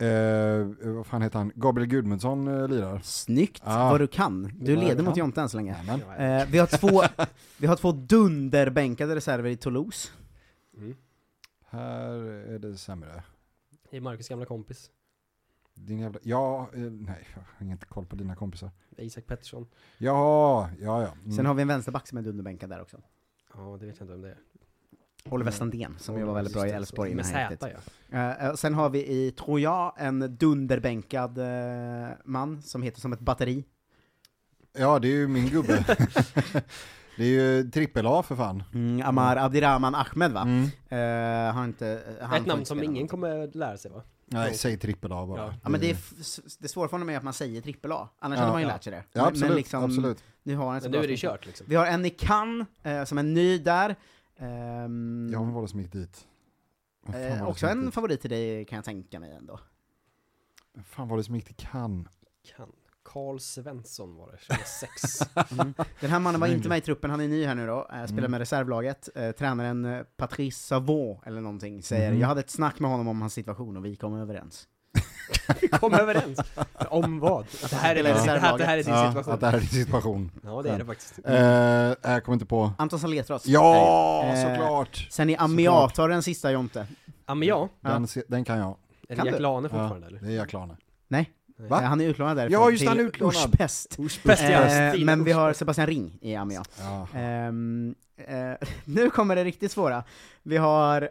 Eh, vad fan heter han? Gabriel Gudmundsson eh, lirar. Snyggt, Ah. vad du kan. Du Vad leder jag mot kan. Jonte än så länge. Jajamän. Eh, vi, har två, vi har två dunderbänkade reserver i Toulouse. Här är det sämre. Mm. Det är Marcus gamla kompis. Din jävla... Ja, eh, nej, jag har inte koll på dina kompisar. Isak Pettersson. Ja, ja, Mm. ja. Sen har vi en vänsterback som är dunderbänkad där också. Ja, det vet jag inte om det är. Oliver Sandén, som ju var väldigt bra i Just det, Elfsborg Med innan han gick Z dit. ja. Eh, eh, Sen har vi i, tror jag, en dunderbänkad eh, man som heter som ett batteri. Ja, det är ju min gubbe. det är ju trippel-A för fan. Mm, Amar Abdirahman Ahmed va? Mm. Eh, har inte, han får Ett namn inte som spela ingen något. kommer lära sig va? Nej, Jo. säg trippel-A bara. Mm. Ja. Ja men det, är f- s- det svåra för honom är att man säger trippel A, annars Ja. hade man ju Ja. lärt sig det. Ja, absolut, liksom- absolut. Nu har han ett så Men nu bra är det ju spel. kört liksom. Vi har en i Cannes, eh, som är ny där. Ehm, Ja, vem var det som gick dit? Vem fan var eh, det också som gick en dit? favorit till dig kan jag tänka mig ändå. Vem fan var det som gick till Cannes? Kan. Carl Svensson var det, 26. Den här mannen var inte med i truppen, han är ny här nu då, eh, Mm. spelar med reservlaget. Eh, Tränaren eh, Patrice Savon, eller någonting, säger Mm. jag hade ett snack med honom om hans situation och vi kom överens. Kom överens! Om vad? Det här är, Spelar i det här, det här är reservlaget. din ja, situation. Att det här är din situation. Ja, det är det faktiskt. Mm. Eh, jag kommer inte på. Anton Saletros. Ja, Eh, såklart! Sen i Amiat Såklart. tar den sista Jonte. Ja, men jag, Den, se- den kan jag. är Kan det Jack du? Lane Ja, fortfarande eller? det är Jack Lane. Nej, Va? eh, han är utlånad därifrån Ja, just till han är utlånad. Urspest. Ospest ja, Eh, Stina men vi har Ospest. Sebastian Ring i Amiat. Ja. Ehm, eh, nu kommer det riktigt svåra. Vi har,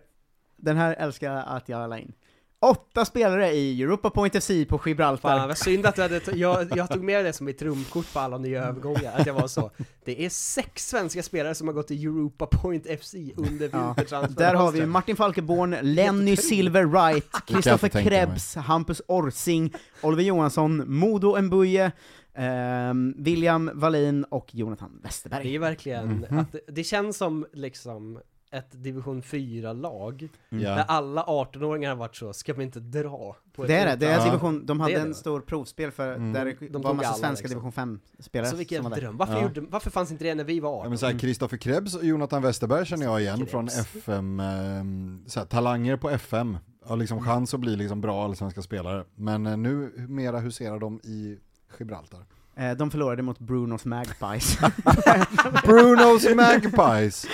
den här älskar jag att jag la in. åtta spelare i Europa Point FC på Gibraltar. Fan vad synd att du hade, t- jag, jag tog med det som mitt trumkort på alla nya övergångar, att jag var så. Det är sex svenska spelare som har gått till Europa Point FC under Ja. vintertransfer. Där har vi Martin Falkeborn, Lenny Silver Wright, Kristoffer tänka mig. Krebs, Hampus Orsing, Oliver Johansson, Modo Mbuye, ehm, William Wallin och Jonathan Det är Westerberg. ju verkligen, Mhm. att det, det känns som liksom ett division 4-lag, där Ja. alla 18-åringar har varit så, ska vi inte dra? På ett Det är det, det är Ja. division, de hade Det är det. en stor provspel för, Mm. där det De var tog massa alla, svenska liksom. division 5-spelare Så vilken som var där. dröm, varför, Ja. gjorde, varför fanns inte det när vi var 18? Ja, men så här, Christopher Krebs och Jonathan Westerberg känner jag igen Mm. Krebs. från FM, eh, så här, talanger på FM. Har liksom Mm. chans att bli liksom bra allsvenska spelare. Men eh, nu mera huserar de i Gibraltar. Eh, De förlorade mot Brunos Magpies. Brunos Magpies!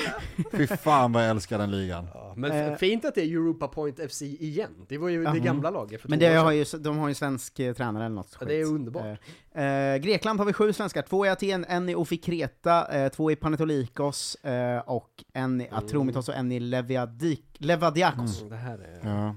Fy fan vad jag älskar den ligan. Ja, men f- Eh. fint att det är Europa Point FC igen, det var ju det Mhm. gamla laget för Men två det år har sedan. ju, de har ju en svensk eh, tränare eller något Ja, det är skit. underbart. Eh, eh, Grekland har vi sju svenskar, två i Aten, en i Ofi Kreta, eh, två i Panetolikos eh, och en i Atromitos och en i Leviadik, Levadiakos. Mm, Det här är... Ja.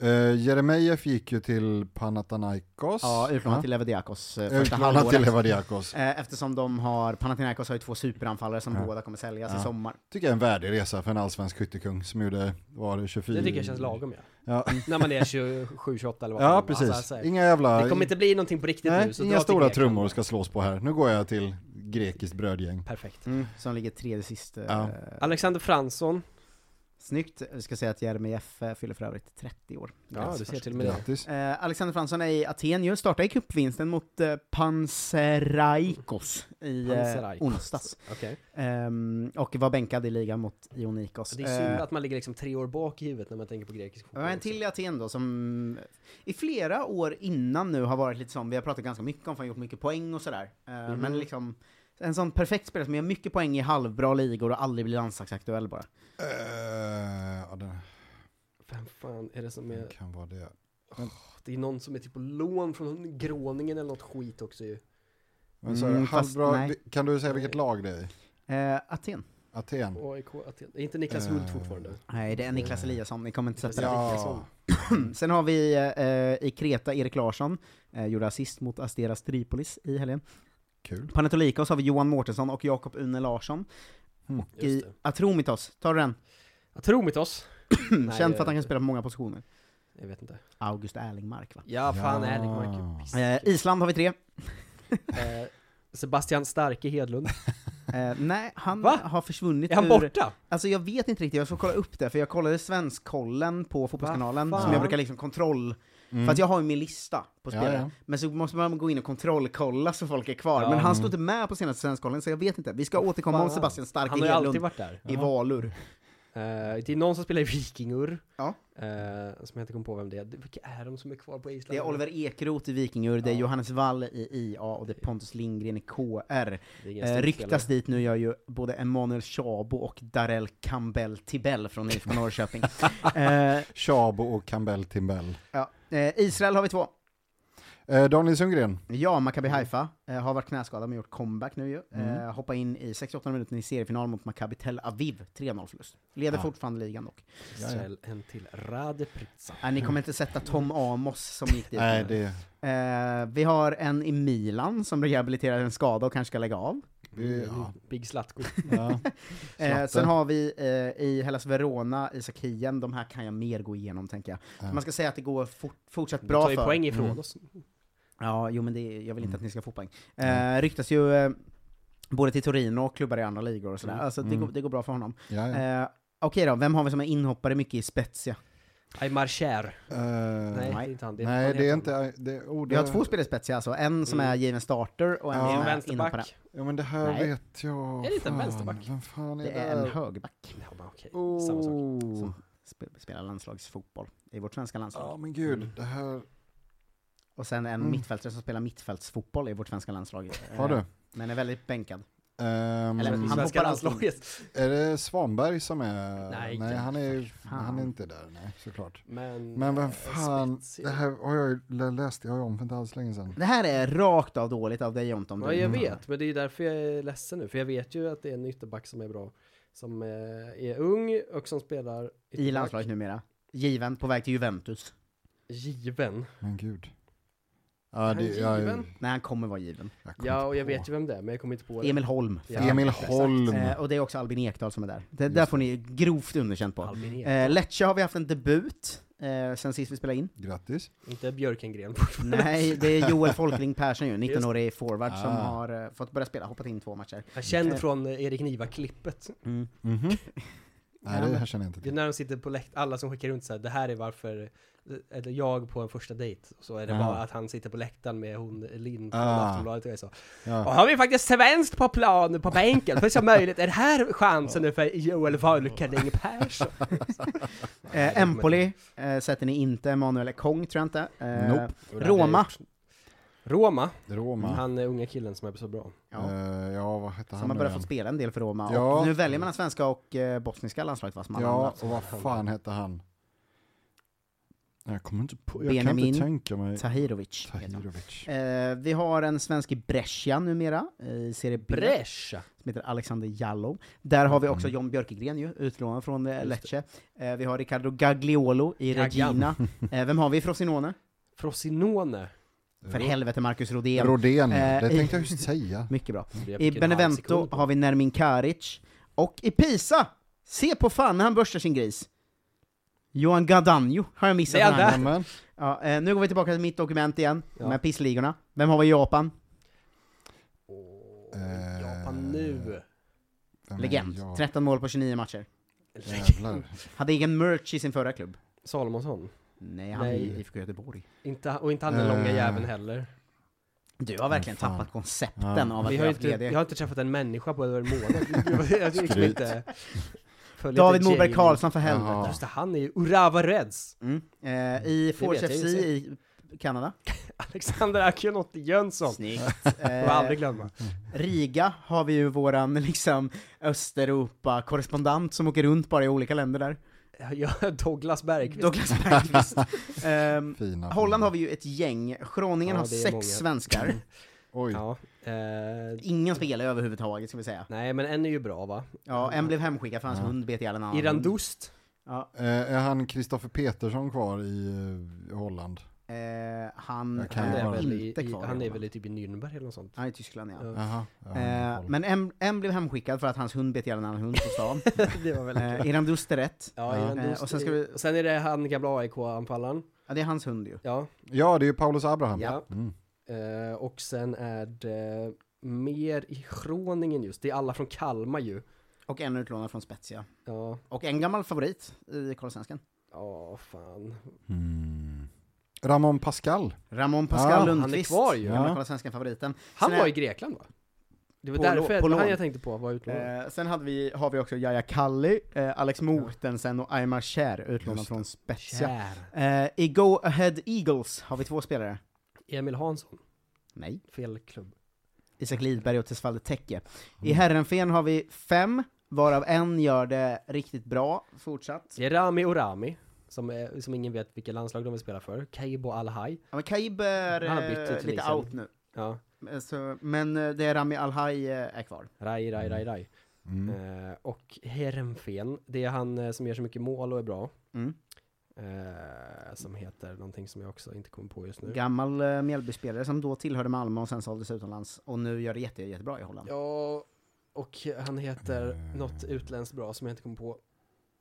Eh, Jeremejeff gick ju till Panathinaikos. Ja, utlånat till Levadiakos eh, första Utlånad halvåret. till Levadiakos. Eh, Eftersom de har, Panathinaikos har ju två superanfallare som Ja. båda kommer säljas i Ja. sommar. Tycker jag är en värdig resa för en allsvensk skyttekung som gjorde, var det 24? Det tycker jag känns lagom ja. Mm. Ja, När man är 27, 28 eller vad fan ja man- precis. alltså, så här. Inga jävla... Det kommer inte bli någonting på riktigt nej, nu. Så inga dra till stora Grekland. trummor ska slås på här. Nu går jag till grekiskt brödgäng. Perfekt. Som ligger tredje sist. eh, Mm. Ja. Alexander Fransson. Snyggt, vi ska säga att Jeremejeff eh, fyller för övrigt 30 år. Ja, du ser till och med det. Grattis. Eh, Alexander Fransson är i Aten ju, startade i cupvinsten mot eh, Panseraikos i eh, Panathinaikos. onsdags. Okej. Ehm, och var bänkad i ligan mot Ionikos. Det är synd Eh, att man ligger liksom tre år bak i huvudet när man tänker på grekisk det fotboll. var en till i Aten då som i flera år innan nu har varit lite som, vi har pratat ganska mycket om, för han har gjort mycket poäng och sådär. Eh, Mhm. Men liksom, en sån perfekt spelare som gör mycket poäng i halvbra ligor och aldrig blir landslagsaktuell bara. Eh, ja, den Vem fan är det som är... kan vara det. Det är någon som är typ på lån från Groningen eller något skit också ju. Men så är Mm, det fast halvbra, nej. kan du säga vilket lag det är i? Eh, Aten. Aten? AIK, Aten. Är inte Niklas Mm. Eh. Hult fortfarande? Nej, det är Niklas Eliasson, ni kommer inte sätta det. Ja, Sen har vi eh, i Kreta Erik Larsson, eh, gjorde assist mot Asteras Tripolis i helgen. kul. Panetolikos har vi Johan Mårtensson och Jakob Une Larsson. Mm. Och i Just det. Atromitos, tar du den? Atromitos? Nej, Känd för jag- att han kan spela på många positioner. Jag vet inte. August Erlingmark va? Ja, fan Ja. är det Mark? Piss. Eh, Island har vi tre. Eh, Sebastian Starke Hedlund. Eh, nej, han Va? har försvunnit Är han ur- borta? Alltså jag vet inte riktigt, jag får kolla upp det, för jag kollade Svenskkollen på Fotbollskanalen, Va fan? som jag brukar liksom kontroll... Mm. För att jag har ju min lista på Ja, spelare, ja. men så måste man gå in och kontrollkolla så folk är kvar. men han stod inte med på senaste Svenskkollen, så jag vet inte. Vi ska återkomma om mm. Fan. Sebastian Stark Han har ju alltid varit där. i Valur. Eh, det är någon som spelar i Vikingur. Ja. Eh, som jag inte kom på vem det är. Vilka är de som är kvar på Island? Det är Oliver Ekrot i Vikingur, det är Johannes Wall i IA och det är Pontus Lindgren i KR. Det är ingen Eh, stor ryktas spelare. dit nu gör ju både Emanuel Chabo och Darrell Campbell Tibell från IFK Norrköping. eh, Chabo och Campbell Timbell. ja. eh, Israel har vi två. Eh, Daniel Sundgren. Ja, Mm. Maccabi Haifa eh, har varit knäskadad men gjort comeback nu ju. Eh, hoppa in i 68 minuten i seriefinal mot Maccabi Tel Aviv, 3-0 förlust. Leder Ja. fortfarande ligan dock. Israel, en till. Rade Pritsa. Eh, ni kommer inte sätta Tom Amos som gick dit. Nej, det, eh, vi har en i Milan som rehabiliterar en skada och kanske ska lägga av. det, ja, Mm, Big Zlatko. ja. Eh, Slappe. sen har vi eh, i Hellas Verona, Isak Hien, de här kan jag mer gå igenom tänker jag. Ja. Man ska säga att det går fort, fortsatt Bra bra tar ju för... Mm. poäng ifrån oss. Ja, jo men det, jag vill inte Mm. att ni ska få poäng. Eh, ryktas ju eh, både till Torino och klubbar i andra ligor och sådär, Mm. alltså det, Mm. går, det går bra för honom. ja, ja. Eh, Okej då, vem har vi som är inhoppare mycket i Spezia? Aymar Cher. Eh, Nej, det Mm. nej. är inte han. Det är, Nej, han det är heter inte... Det, oh, Vi det, har två spelare i Spezia alltså, en som Mm. är given starter och en Ja. han. som En är inhoppare. vänsterback. Ja, men det här Nej. vet jag. Är det inte en Fan, vänsterback? Vem fan är Det det? är en högerback. Ja, men okej. Samma sak. Oh. Sp- Spelar landslagsfotboll i vårt svenska landslag. Ja, men Mm. gud. Det här... Och sen en Mm. mittfältare som spelar mittfältsfotboll i vårt svenska landslag. Eh, Har du? Men är väldigt bänkad. Ehm, Eller- Han Svenska hoppar alltid landslaget. Är det Svanberg som Nej, är... nej gud, han, är, fan. han är inte där, nej, såklart. Men, Men eh, vem fan, Spezia. det här har jag ju lä- läst, jag har ju om för inte alls länge sedan. Det här är rakt av dåligt av dig Jontom. Ja, Mm. jag vet, men det är ju därför jag är ledsen nu. För jag vet ju att det är en ytterback som är bra. Som eh, är ung och som spelar I ytterback. landslaget numera. Given, på väg till Juventus. Given. Men gud. Är han given? Nej, han kommer vara given. Ja, och jag vet ju vem det är, men jag kommer inte på det. Emil Holm. Ja. Exakt. Eh, och det är också Albin Ekdal som är där. Det Just där får ni ju grovt underkänt på. Albin Ekdal. Eh, Lecce har vi haft en debut eh, sen sist vi spelade in. Grattis. Inte Björkengren fortfarande. Nej, det är Joel Folkling Persson ju, 19-årig forward som Ah. har eh, fått börja spela, hoppat in två matcher. Jag känner Eh, från eh, Erik Niva-klippet. Mm. Nej, det här känner jag inte Det är när de sitter på läkt alla som skickar runt så här, det här är varför, eh, eller jag på en första dejt, och så är det Ja. bara att han sitter på läktaren med hon eh, Lind från Ah. Aftonbladet och jag så. Ah. Ja. Och har vi faktiskt svenskt på plan på bänken, för som möjligt, är det här chansen nu för Joel Folkling Persson? Eh, Empoli eh, sätter ni inte, Emanuel Ekong tror jag inte. Eh, Nope. Roma. Roma. Roma. Han är unga killen som är så bra. Ja. Eh, ja, vad hette han Som har nu börjat igen? få spela en del för Roma, Ja. och nu väljer man svenska och eh, bosniska landslaget va? som man har Ja, haft. och vad fan hette han? Jag kommer inte på, jag kan Benjamin inte tänka mig. Tahirovic. heter han. Tahirovic. Eh, vi har en svensk i Brescia numera, eh, i Serie B. Brescia? Som heter Alexander Jallow. Där har vi också John Björkegren ju, utlånad från eh, Lecce. Eh, vi har Riccardo Gagliolo i Gaggan. Regina. Eh, vem har vi i Frosinone? Frosinone. För helvete Marcus Rodén. Eh, Rodén, det i- tänkte jag just säga. Mycket bra. Det blev I vilken halv Benevento sekund har vi Nermin Karic. Och i Pisa, se på fan när han borstar sin gris. Johan Gadanjo har jag missat. Det är den här. han där. Ja, eh, nu går vi tillbaka till mitt dokument igen, Ja. med pissligorna. Vem har vi i Japan? Eh, Japan nu. Vem Legend. 13 mål på 29 matcher. eh. Jävlar. Hade egen merch i sin förra klubb. Salomonsson? Nej, han är i IFK Göteborg. Inte, och inte han den långa Eh. jäveln heller. Du har verkligen Fan. tappat koncepten av att vi vi har har ju haft inte, lediga. Jag har inte träffat en människa på över en månad. Jag har liksom Skryt. inte följt David ett Moberg gäng. Karlsson, för helvete. Jaha. Just det, han är ju Urawa Reds. Eh, I Forge FC i Kanada. Alexander Akinotti Jönsson. Snyggt. Eh, Får aldrig glömma. Riga har vi ju våran liksom Östeuropa-korrespondent som åker runt bara i olika länder där. Ja, Douglas Bergqvist. Douglas Bergqvist. Ehm, Fina. Holland har vi ju ett gäng, Groningen Ja, har det är sex många. svenskar. Oj. Ja, eh, Ingen spelar överhuvudtaget ska vi säga. Nej, men en är ju bra va? Ja, en blev hemskickad för hans Ja. hund bet ihjäl en annan. Iran Dust. Ja. Eh, är han Kristoffer Petersson kvar i eh, Holland? Eh, han Jag kan är bara- inte I, i, kvar. han är väl typ i Nürnberg eller något sånt? Han är i Tyskland ja. Jaha. Eh, men en, en blev hemskickad för att hans hund bet ihjäl en annan hund på stan. det var väldigt eh, Iran Dust är rätt. Ja, Iran Eh, Dust. och sen ska vi... och sen är det han gamla AIK-anfallaren. Ja, det är hans hund ju. Ja. Ja, det är ju Paulus Abraham. Ja. Mm. Eh, och sen är det mer i Groningen just. Det är alla från Kalmar ju. Och en utlånad från Spezia. Ja. Och en gammal favorit i Karlsvenskan. Ja, fan. Mm. Ramon Pascal. Ramon Pascal Ja, Lundqvist. han är kvar ju. Gamla Ja. Karlsvenskan-favoriten. Han Sen var är- i Grekland va? Det var På lå- därför på han lån. jag tänkte på var utlånad. Eh, sen hade vi, har vi också Jaja Kalli, eh, Alex Mortensen och Aymar Cher utlånad Just det. från Spezia. Eh, I Go Ahead Eagles har vi två spelare. Emil Hansson. Nej. Fel klubb. Isak Lidberg och Tesfalde Tekke. I Mm. Herrenfen har vi fem, varav en gör det riktigt bra fortsatt. Det är Rami och Rami. Som, är, som ingen vet vilka landslag de vill spela för. Kaibo Al-Haj. Ja, men Kaib är Han har bytt till eh, lite Tunisien. out nu. Ja. Eh, Så, men eh, det är Rami Alhaj är kvar. Raj, Raj, Raj, Raj. Mm. Eh, och Herenfen, det är han eh, som gör så mycket mål och är bra. Mm. Eh, som heter någonting som jag också inte kommer på just nu. Gammal eh, Mjällbyspelare som då tillhörde Malmö och sen såldes utomlands och nu gör det jätte, jättebra i Holland. Ja, och han heter något utländskt bra som jag inte kommer på.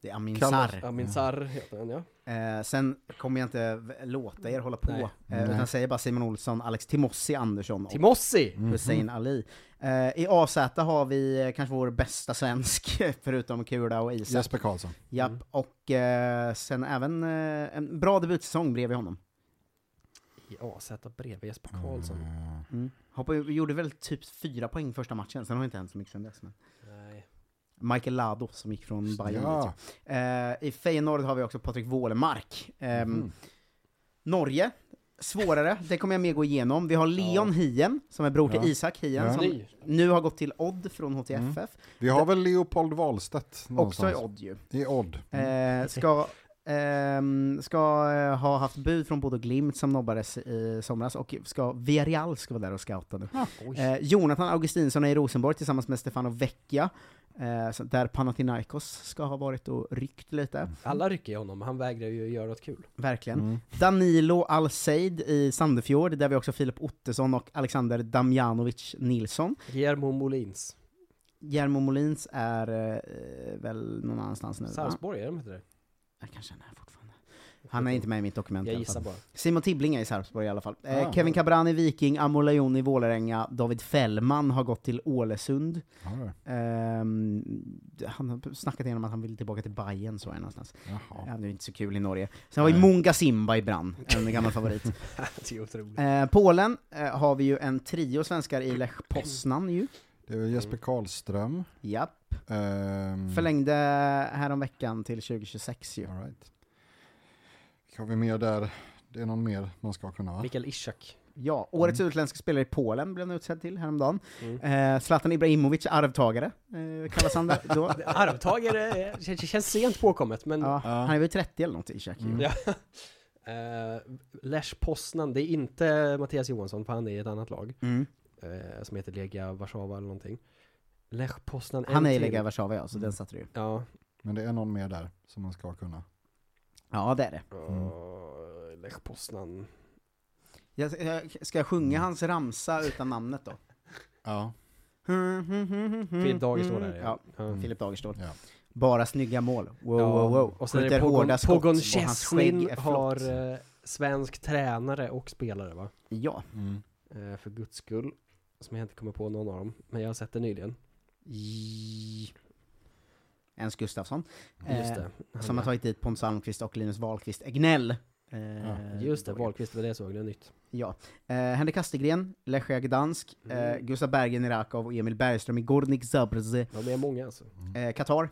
Det är Amin Kallas- Sarr. Amin Sarr heter han ja. Eh, sen kommer jag inte v- låta er hålla på, Nej. eh, Nej. utan jag säger bara Simon Olsson, Alex Timossi Andersson Timossi! Mhm. Mm-hmm. och Hussein Ali. Eh, I AZ har vi eh, kanske vår bästa svensk, förutom Kula och Isak. Jesper Karlsson. Japp, och eh, sen även eh, en bra debutsäsong bredvid honom. I AZ bredvid Jesper Karlsson. Mm. Hoppa, gjorde väl typ fyra poäng första matchen, sen har det inte hänt så mycket sen dess. Men. Nej. Michael Lado som gick från Bayern Ja. dit. eh, I Feyenoord har vi också Patrik Wålemark. Ehm, Mm-hmm. Mm. Norge, svårare, det kommer jag mer gå igenom. Vi har Leon Hien, som är bror till Ja. Isak Hien, Ja. som Ny. nu har gått till Odd från HTFF. Vi har väl Leopold Wahlstedt någonstans? Odd ju. Mm. I Odd. Eh, ska ehm, ska eh, ha haft bud från både Glimt som nobbades i somras och ska, Villarreal ska vara där och scouta nu. Eh, Jonathan Augustinsson är i Rosenborg tillsammans med Stefano Vecchia, eh, så- där Panathinaikos ska ha varit och ryckt lite. Alla rycker ju honom, han vägrar ju göra något kul. Verkligen. Mm. Danilo Alseid i Sandefjord, där vi också har Filip Ottosson och Alexander Damjanovic Nilsson. Guillermo Molins. Jermo Molins är eh, väl någon annanstans nu va? Sarpsborg, är de Mm. inte det? Jag kanske är fortfarande. Han är inte med i mitt dokument Jag i alla fall. gissar bara. Simon Tibbling är i Sarpsborg i alla fall. Eh, Ah. Kevin Cabran i Viking, Amo Lejon i Vålerenga, David Fällman har gått till Ålesund. Ehm, han har snackat igenom att han vill tillbaka till Bayern så är det någonstans. Jaha. Eh, det är inte så kul i Norge. Sen har vi Munga Simba i brann, en gammal favorit. det är otroligt. Eh, Polen eh, har vi ju en trio svenskar i Lech Poznan ju. Det är väl Jesper Karlström. Japp. Mm. Ehm, Förlängde häromveckan till 2026 ju. All right. Har vi mer där? Det är någon mer man ska kunna va? Mikael Ishak. Ja, årets utländska spelare i Polen blev han utsedd till häromdagen. Mm. Eh, Zlatan Ibrahimovic, arvtagare, eh, kallas han där då. Arvtagare eh, känns, känns sent påkommet, men... Ja, Han är väl 30 eller något, Ishak. ju. Ja. Eh, Lech Poznan, det är inte Mattias Johansson, för han är i ett annat lag. Mm. eh, som heter Lega Warszawa eller någonting. Lech Poznan en Han är i till. Lega Warszawa ja, så den satte du ju. Ja. Men det är någon mer där som man ska kunna. Ja, det är det. Eh, Lech Poznan. Jag, jag, ska jag sjunga hans ramsa utan namnet då? Ja. Filip Dagerstål är det, Ja, ja. Mm. Filip Dagerstål. Ja. Bara snygga mål. Wow, Ja, wow, wow. Och sen är det Skjuter Pogon, hårda skott, Pogon och hans skägg Szczesny är flott. har eh, svensk tränare och spelare va? Ja. Mm. Eh, för guds skull. Som jag inte kommer på någon av dem. Men jag har sett det nyligen. I- Ens Gustafsson. Eh, Just det. Han Som har är- tagit dit Pontus Almqvist och Linus Wahlqvist Egnell. Eh, Just det, Wahlqvist, det var det jag såg, det är nytt. Ja. Eh, Henrik Astegren, Lechia Gdansk, Mm. eh, Gustav Bergen i Rakov och Emil Bergström i Gornik Zabrze. De är många alltså. Eh, Qatar,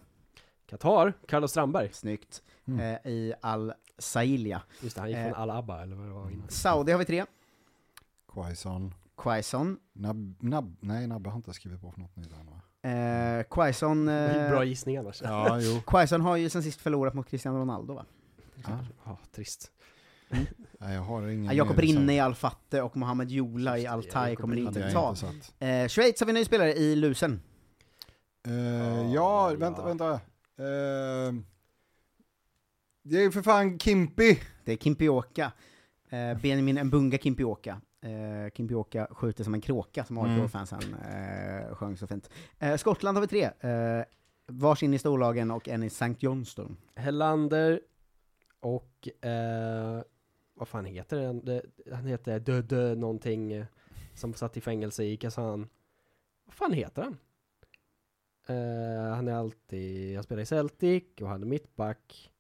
Qatar, Carlos Strandberg. snyggt. Mm. Eh, I Al Sailia. Just det, han gick Eh. från Al Abba eller vad det var innan. Saudi har vi tre. Quaison. Quaison. Nab, nab, nej, Nabbe har inte skrivit på för något nytt än va? Eh, Quaison... Eh, Bra gissning annars. Ja, jo. Quaison har ju sen sist förlorat mot Cristiano Ronaldo Mm, va? Ja, trist. Nej, jag har ingen Ja, Jakob mer i Rinne reserv. i Al Fatte och Mohamed Jola i Al Tai Jakob kommer Rinne hade jag inte inte ta. satt. Eh, Schweiz har vi en ny spelare i Lusen. Eh, ja, vänta, vänta. Eh, det är ju för fan Kimpi! Det är Kimpioka. Eh, Benjamin Mbunga Kimpioka. Eh, Kimpioka skjuter som en kråka, som Mm. AIK-fansen eh, sjöng så fint. Eh, Skottland har vi tre. Eh, varsin i storlagen och en i St. Johnston. Hellander och eh, vad fan heter den? Det- Han heter Dödö någonting eh, som satt i fängelse i Kazan. Vad fan heter han? Eh, han är alltid, han spelar i Celtic och han är mittback.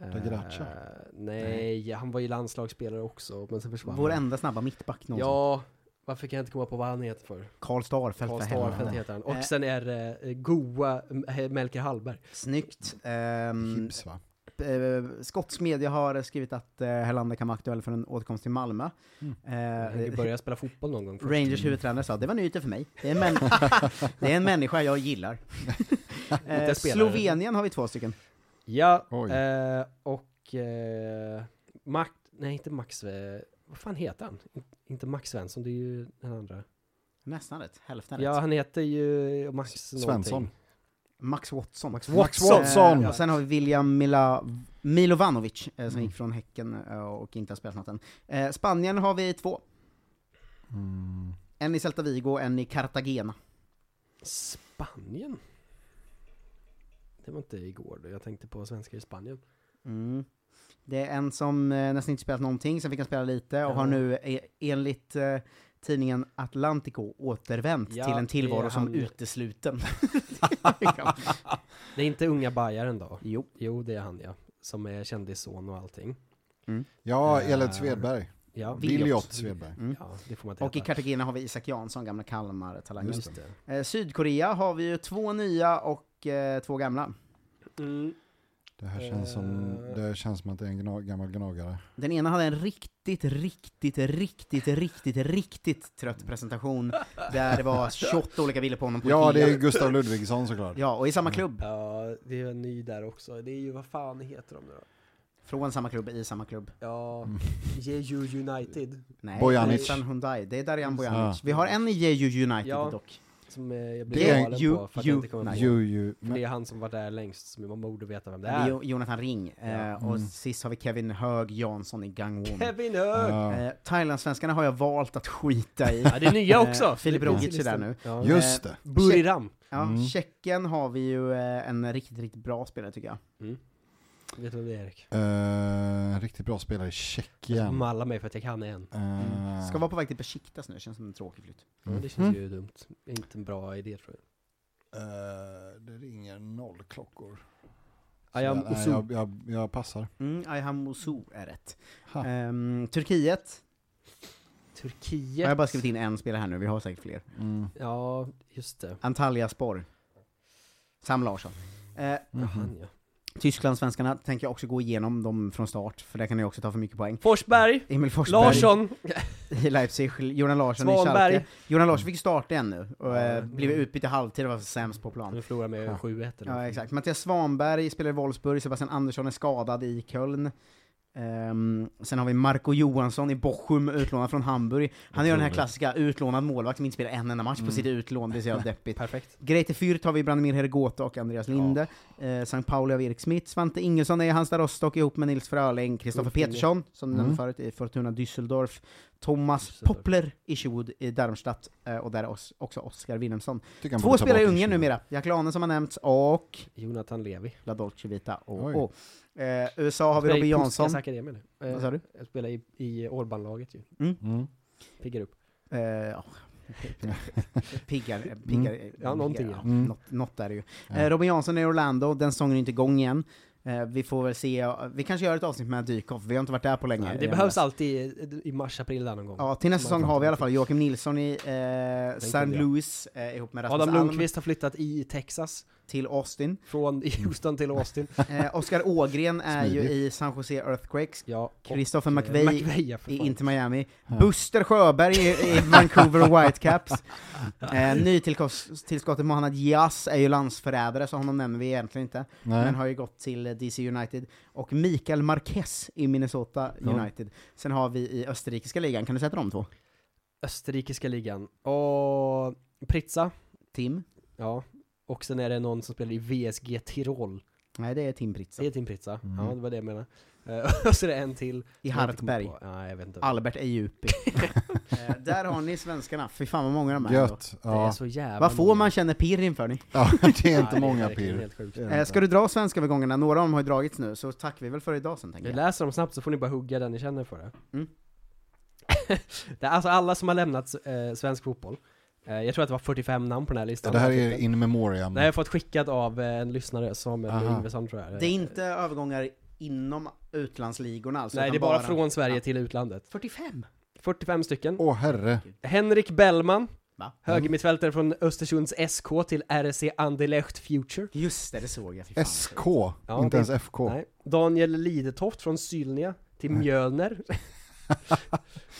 Eh, Da Gracia? nej, han var ju landslagsspelare också, men sen försvann Vår han. enda snabba mittback någonsin. Ja, varför kan jag inte komma på vad han heter för? Karl Starfelt Karl för Starfelt helvete. heter han. Och Eh. sen är det eh, Goa eh, Melker Hallberg. Snyggt. Ehm, Hips va? eh, skotsk media har skrivit att eh, Helander kan vara aktuell för en återkomst till Malmö. Mm. Han Eh, började spela fotboll någon gång. först. Rangers huvudtränare sa det var nyheter för mig. Det är en, män- det är en människa jag gillar. eh, spelare. Slovenien har vi två stycken. Ja, Oj. eh, och eh, Max, nej inte Max, eh, vad fan heter han? In, inte Max Svensson, det är ju den andra. Nästan rätt, hälften Ja, rätt. han heter ju Max Svensson. någonting. Max Watson. Max Max Watson. Watson. Eh, och sen har vi William Mila, Milovanovic eh, som gick från Häcken eh, och inte har spelat något än. Eh, Spanien har vi två. Mm. En i Celta Vigo och en i Cartagena. Spanien? Det var inte igår då, jag tänkte på svenskar i Spanien. Mm. Det är en som eh, nästan inte spelat någonting, sen fick han spela lite och Ja. har nu eh, enligt eh, tidningen Atlantico återvänt Ja, till en tillvaro det är som han. utesluten. Det är inte unga Bajaren då? jo. Jo, det är han ja. Som är kändisson och allting. Ja, Eh, Elliot Svedberg. Ja, Viljot Svedberg. ja det får man inte Och i heta. Cartagena har vi Isak Jansson, gamla Kalmar-talangen. Just det. Eh, Sydkorea har vi ju två nya och eh, två gamla. Mm. Det här känns som, det känns som att det är en gna, gammal gnagare. Den ena hade en riktigt, riktigt, riktigt, riktigt, riktigt trött presentation där det var 28 olika bilder på honom på Ja, det Ikea. är Gustav Ludvigsson såklart. Ja, och i samma klubb. Ja, det är en ny där också. Det är ju, vad fan heter de nu då? Från samma klubb, i samma klubb. Ja, Jeju United. Nej, Bojanic. Mm. utan Hyundai. Det är Darjan Bojanic. Ja. Vi har en i Jeju United Ja. dock. Som eh, jag Det blir är galen Ju- på för att jag inte kommer Ju- på. Ju, ju, För men, Det är han som var där längst, så man borde veta vem det Det är är. Jo- Jonathan Ring. Eh, och Mm. sist har vi Kevin Hög Jansson i Gangwon. Kevin Höök! ja. Eh, Thailandsvenskarna har jag valt att skita i. Ja, det är nya också! Eh, Filip Rogic är där nu. Ja. Just det. Buriram. Ja, Mm. Tjeckien har vi ju eh, en riktigt, riktigt bra spelare tycker jag. Vet du vem det är Erik? Eh, riktigt bra spelare i Tjeckien. Malla mig för att jag kan en. Eh, mm. Ska vara på väg till Besiktas nu, känns som en tråkig flytt. Ja, det känns ju dumt. Inte en bra idé tror jag. eh, det ringer noll klockor. Ja, jag, Nej, Osu- jag, jag, jag passar. Mm, Ayhan Moussou är rätt. Ha. Eh, Ehm, Turkiet. Jag Turkiet. har bara skrivit in en spelare här nu, vi har säkert fler. Mm. Ja, just det. Antalya Spor. Sam Larsson. Eh, mm, Han, ja. Tyskland-svenskarna tänker jag också gå igenom dem från start, för där kan jag också ta för mycket poäng. Forsberg! Emil Forsberg Larsson! i Leipzig, Jonas Larsson i Svanberg. Schalke. Jonas Larsson fick ju starta igen nu, och eh, Mm. blev utbytt i halvtid och var sämst på plan. Nu förlorar med 7-1 eller Ja, något. exakt. Mattias Svanberg spelar i Wolfsburg, Sebastian Andersson är skadad i Köln. Ehm, sen har vi Marco Johansson i Bochum, utlånad från Hamburg. Han är ju den här klassiska utlånad målvakt som inte spelar en enda match Mm. på sitt utlån, det är så jävla deppigt. Perfekt. Grete Fürth har vi Branimir Hergota och Andreas Linde. Eh, Sankt Pauli har vi Erik Smith. Svante Ingelsson är i Halmstad Rostock ihop med Nils Fröling, Kristoffer Ulf Linde. Petersson, som mm. nämnde förut, i Fortuna Düsseldorf. Thomas Düsseldorf. Poppler i Schwood i Darmstadt, eh, och där är os- också Oskar Wilhelmsson. Tycker han Två borde ta spelare i bort Ungern Schmidt. numera. Jack Lanen som har nämnts, och Jonathan Levi. La Dolce Vita. Oj. Och, och. Eh, USA har vi Spelar i Robbie Jansson. Puskas Akademi nu. Eh, Vad sa du? Jag spelar i, i Orban-laget ju. Mm. Piggar upp. Eh, ja. Piggar, piggar, Ja, någonting, piggar, ja. Mm. Något, något är det ju. Ja. Eh, Robin Jansson är i Orlando, den säsongen är inte igång igen. Eh, vi får väl se, eh, vi kanske gör ett avsnitt med Dykhoff, vi har inte varit där på länge. Eh, det Jävlar. behövs alltid i- i mars-april där någon gång. Ja, till nästa säsong har vi i alla fall Joakim Nilsson i eh, St. kunde jag. Louis eh, ihop med Rasmus Adam Alm Lundqvist har flyttat i Texas, till Austin. från Houston till Austin. Eh, Oskar Ågren är ju Smidigt. i San Jose Earthquakes. Ja, Christopher och, eh, McVeigh McVeigh för i fan. Inter Miami, Buster Sjöberg i, i Vancouver Whitecaps, eh, nytillskottet Mohanad Diaz är ju landsförrädare, så honom nämner vi egentligen inte, Nej. men har ju gått till eh, DC United, och Mikael Marquez i Minnesota Ja. United. Sen har vi i österrikiska ligan, kan du sätta de två? Österrikiska ligan. Och Pritza. Tim? Ja. Och sen är det någon som spelar i VSG Tirol. Nej, det är Tim Pritsa. Det är Tim Pritza. Ja, det var det jag menade. Eh, Och så är det en till. I Som jag inte kommer Hartberg. på. Nej, jag vet inte. Albert Ejupi. eh, där har ni svenskarna, fy fan vad många de är. ändå. Gött. Det är Ja. så jävla Vad får många. man känna pirr inför ni? ja, det är Nej, inte det är många verkligen pirr. helt sjukt. Det är det Eh, inte. ska du dra svenska övergångarna? Några av dem har ju dragits nu, så tackar vi väl för idag sen tänker Jag jag. läser dem snabbt så får ni bara hugga den ni känner för det. Mm. det är alltså alla som har lämnat eh, svensk fotboll. Eh, jag tror att det var 45 namn på den här listan. Det här är in memoriam. Det här har jag fått skickat av eh, en lyssnare, Samuel Aha. Yngvesson tror jag. Det är inte övergångar inom utlandsligorna alltså? Nej, utan det är bara från Sverige Ja. till utlandet. 45? 45 stycken. Åh herre. Henrik Mm. Bellman, Va? högermittfältare från Östersunds SK till RC Anderlecht Future. Just det, det såg jag. Fy fan. SK, Ja, inte det- ens FK. Nej. Daniel Lidetoft från Sylnia till Mjölner.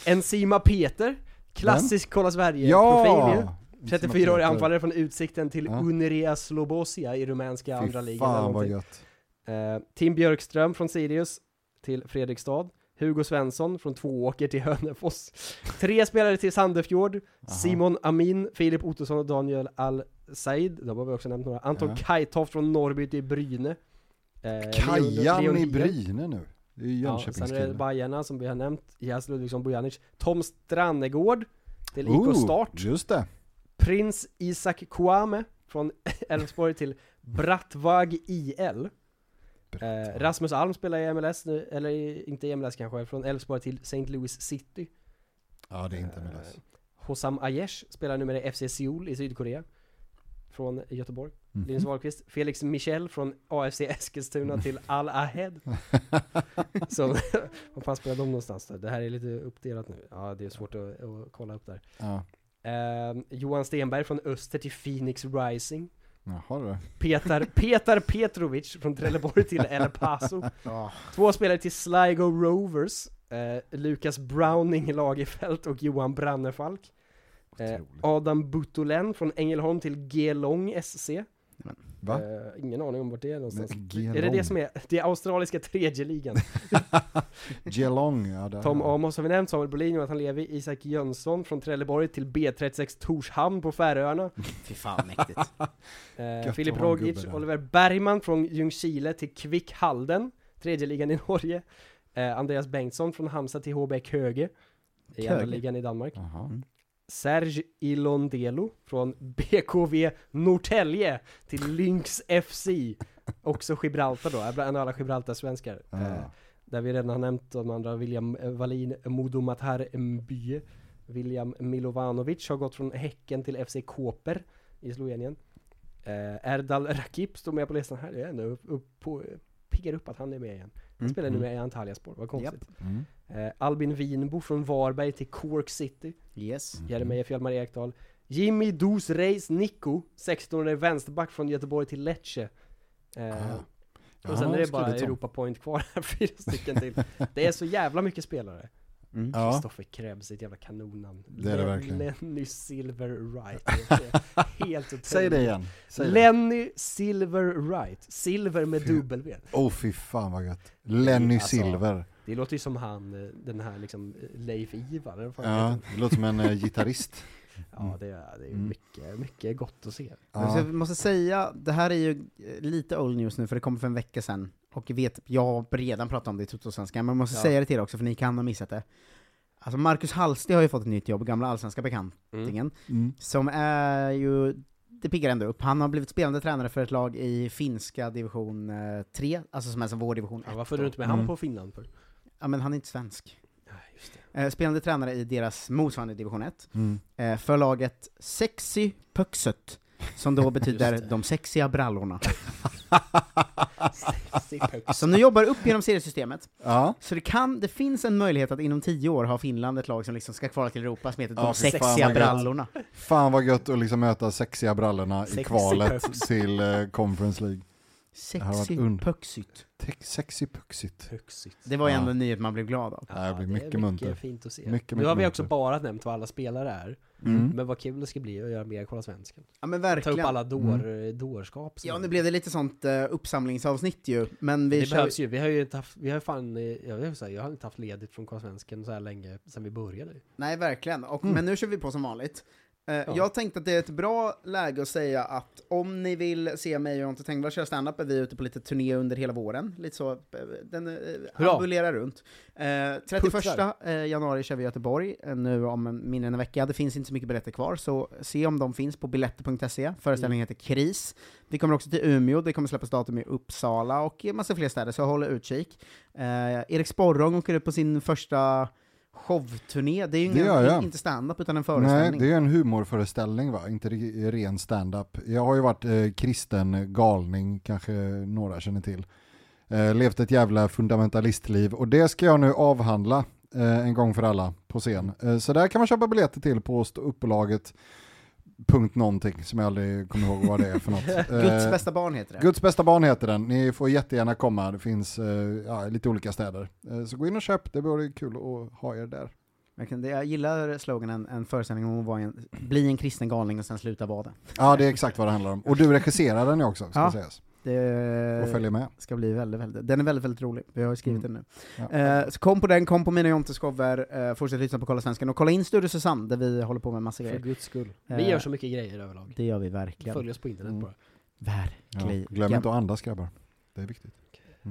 Enzima Peter, klassisk Kolla Sverige-profil ju. Ja! 34-årig anfallare från Utsikten till Ja. Unirea Slobosia i rumänska andra Fy ligan. eller fan vad någonting. gött. Eh, Tim Björkström från Sirius till Fredrikstad. Hugo Svensson från Tvååker till Hönefors. Tre spelare till Sandefjord. Simon Amin, Filip Ottosson och Daniel Al-Said. De har vi också nämnt några. Anton Ja. Kajtoft från Norrby till Bryne. Eh, Leon- Kajan Leon i Hien. Bryne nu. Det är ju Ja, sen är det Jönköpingskille. Bajarna som vi har nämnt. Jas Ludvigsson Bojanic. Tom Strannegård till IK Start. Oh, just det. Prins Isak Kwame från Elfsborg till Brattvag IL. Eh, Rasmus Alm spelar i MLS nu, eller i- inte i MLS kanske, från Elfsborg till St. Louis City. Ja, det är inte MLS. Eh, Hossam Aiesh spelar numera i FC Seoul i Sydkorea. Från Göteborg. Mhm. Linus Wahlqvist. Felix Michel från AFC Eskilstuna till Al Ahed. Så, vad fan spelar de någonstans då? Det här är lite uppdelat nu. Ja, det är svårt att, att kolla upp där. Ja. Eh, Johan Stenberg från Öster till Phoenix Rising. Jaha du. Petar, Petar Petrovic från Trelleborg till El Paso. Ja. Två spelare till Sligo Rovers. Eh, Lukas Browning Lagerfält och Johan Brannefalk. Eh, Otroligt. Adam Butolen från Ängelholm till Geelong SC. Va? Eh, ingen aning om vart det är någonstans. Geelong. Är det det som är, det är australiska tredje ligan? Geelong, ja där. Tom Amos har vi nämnt, Samuel Bolin, Jonathan Levi, Isak Jönsson från Trelleborg till B36 Torshamn på Färöarna. Fy fan mäktigt. Eh, Gött Filip att ha en Rogic, gubbe där. Oliver Bergman från Ljungskile till Kvick Halden, tredje ligan i Norge. Eh, Andreas Bengtsson från Hamsa till HBK Höge, i andra Köge. ligan i Danmark. Jaha. Serge Ilondelo från BKV Norrtälje till Lynx FC, också Gibraltar då, är en av alla Gibraltar-svenskar. Eh, Ja. där vi redan har nämnt de andra, William eh, Wallin, Modomatar Mby, William Milovanovic har gått från Häcken till FC Koper i Slovenien. Eh, Erdal Rakip står med på listan här, det är ändå upp, upp på, piggar upp att han är med igen. Han spelar nu med i Antalyaspor, vad konstigt. Mm. Eh, Albin Winbo från Varberg till Cork City. Yes. Mm. Jeremejeff Hjalmar Ekdal Jimmy Dos Reis Nico 16 vänsterback från Göteborg till Lecce eh, Ah. Och sen Ja, är det bara skrivit om. Europa Point kvar här, fyra stycken till Det är så jävla mycket spelare Ja. Kristoffer Krebs, ett jävla kanonnamn Det är det Len- verkligen. Lenny Silver Wright Det är Helt otroligt Säg det igen. Säg det. Lenny Silver Wright Silver med W Oh fy fan vad gött. Lenny Alltså, Silver. Det låter ju som han, eh, den här liksom eh, Leif Ivar eller vad fan han Ja, Mm. heter. det låter som en eh, gitarrist. ja det är, det är mycket, mycket gott att se Men så Ja. Jag måste säga, det här är ju eh, lite old news nu för det kom för en vecka sedan. Och jag vet, jag har redan pratat om det i Tuttosvenskan, men jag måste Ja. säga det till er också för ni kan ha missat det. Alltså Marcus Hallstig har ju fått ett nytt jobb, gamla allsvenska bekantingen, Mm. som är ju, det piggar ändå upp. Han har blivit spelande tränare för ett lag i finska division 3, alltså som är som vår division 1. Ja, varför är du inte med Mm. han på Finland för? Ja men han är inte svensk. Nej, just det. Eh, Spelande tränare i deras motsvarande division 1, Mm. eh, för laget Sexy Pökset, som då betyder de sexiga brallorna. Som nu jobbar upp genom seriesystemet, Ja. så det, kan, det finns en möjlighet att inom tio år ha Finland ett lag som liksom ska kvala till Europa som heter Ja, De fy fan, sexiga vad gött. brallorna. Fan vad gött att liksom möta sexiga brallorna i Sexy kvalet pucks. till eh, Conference League. hade varit Sexy und- Pöksyt. Te- Sexy puxigt. Högsigt. Det var ju Ja. ändå en nyhet man blev glad av. Ja, det blir mycket munter. fint att se. Mycket, nu mycket har vi munter. också bara nämnt vad alla spelare är. Mm. Men vad kul det ska bli att göra mer Kolla Svensken. Ja men Ta upp verkligen. alla dår, dårskap. som- Ja nu blev det lite sånt eh, uppsamlingsavsnitt ju, men vi det kör... behövs ju. Vi har ju inte haft, vi har fan, eh, jag, vill säga, jag har inte haft ledigt från Kolla Svensken så här länge sedan vi började. Nej verkligen, och, men nu kör vi på som vanligt. Eh, Jag tänkte att det är ett bra läge att säga att om ni vill se mig och Jonte Tengvall köra standup är vi ute på lite turné under hela våren. Lite så, eh, den eh, Hurra! ambulerar runt. Eh, 31 eh, januari kör vi i Göteborg, eh, nu om en, mindre än en vecka. Det finns inte så mycket biljetter kvar, så se om de finns på biletter.se. Föreställningen heter Kris. Vi kommer också till Umeå, det kommer släppas datum i Uppsala och i en massa fler städer, så håll utkik. Eh, Erik Sporrong åker ut på sin första showturné. Det är ju Det ingen, gör jag. inte stand-up utan en Nej, föreställning. det är en humorföreställning va, inte re- ren stand-up. Jag har ju varit eh, kristen galning, kanske några känner till. Eh, levt ett jävla fundamentalistliv och det ska jag nu avhandla eh, en gång för alla på scen. Eh, så där kan man köpa biljetter till på ståuppbolaget punkt någonting som jag aldrig kommer ihåg vad det är för något. Guds Eh, bästa barn heter det. Guds bästa barn heter den. Ni får jättegärna komma. Det finns eh, ja, lite olika städer. Eh, så gå in och köp. Det vore kul att ha er där. Verkligen, det- Jag gillar sloganen en föreställning om att vara en, bli en kristen galning och sen sluta vara det. Ja, det är exakt vad det handlar om. Och du regisserar den ju också, ska Ja. Eh, sägas. Och Det följer med. Mm. ska bli väldigt, väldigt, den är väldigt, väldigt rolig. Vi har ju skrivit den nu. Ja. Eh, så kom på den, kom på mina Jontes shower, eh, fortsätt lyssna på Kolla Svenskan och kolla in Studio Susanne där vi håller på med massa För grejer. guds skull. Eh, Vi gör så mycket grejer överlag. Det gör vi verkligen. Följ oss på internet Mm. bara. Ja. Verkligen. Glöm inte att andas grabbar. Det är viktigt.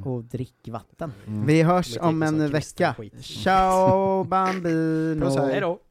Och drick vatten. Mm. Vi hörs Kommer om tänka på en sån kristen vecka. skit. Ciao bambino! Puss, hej. Hej då!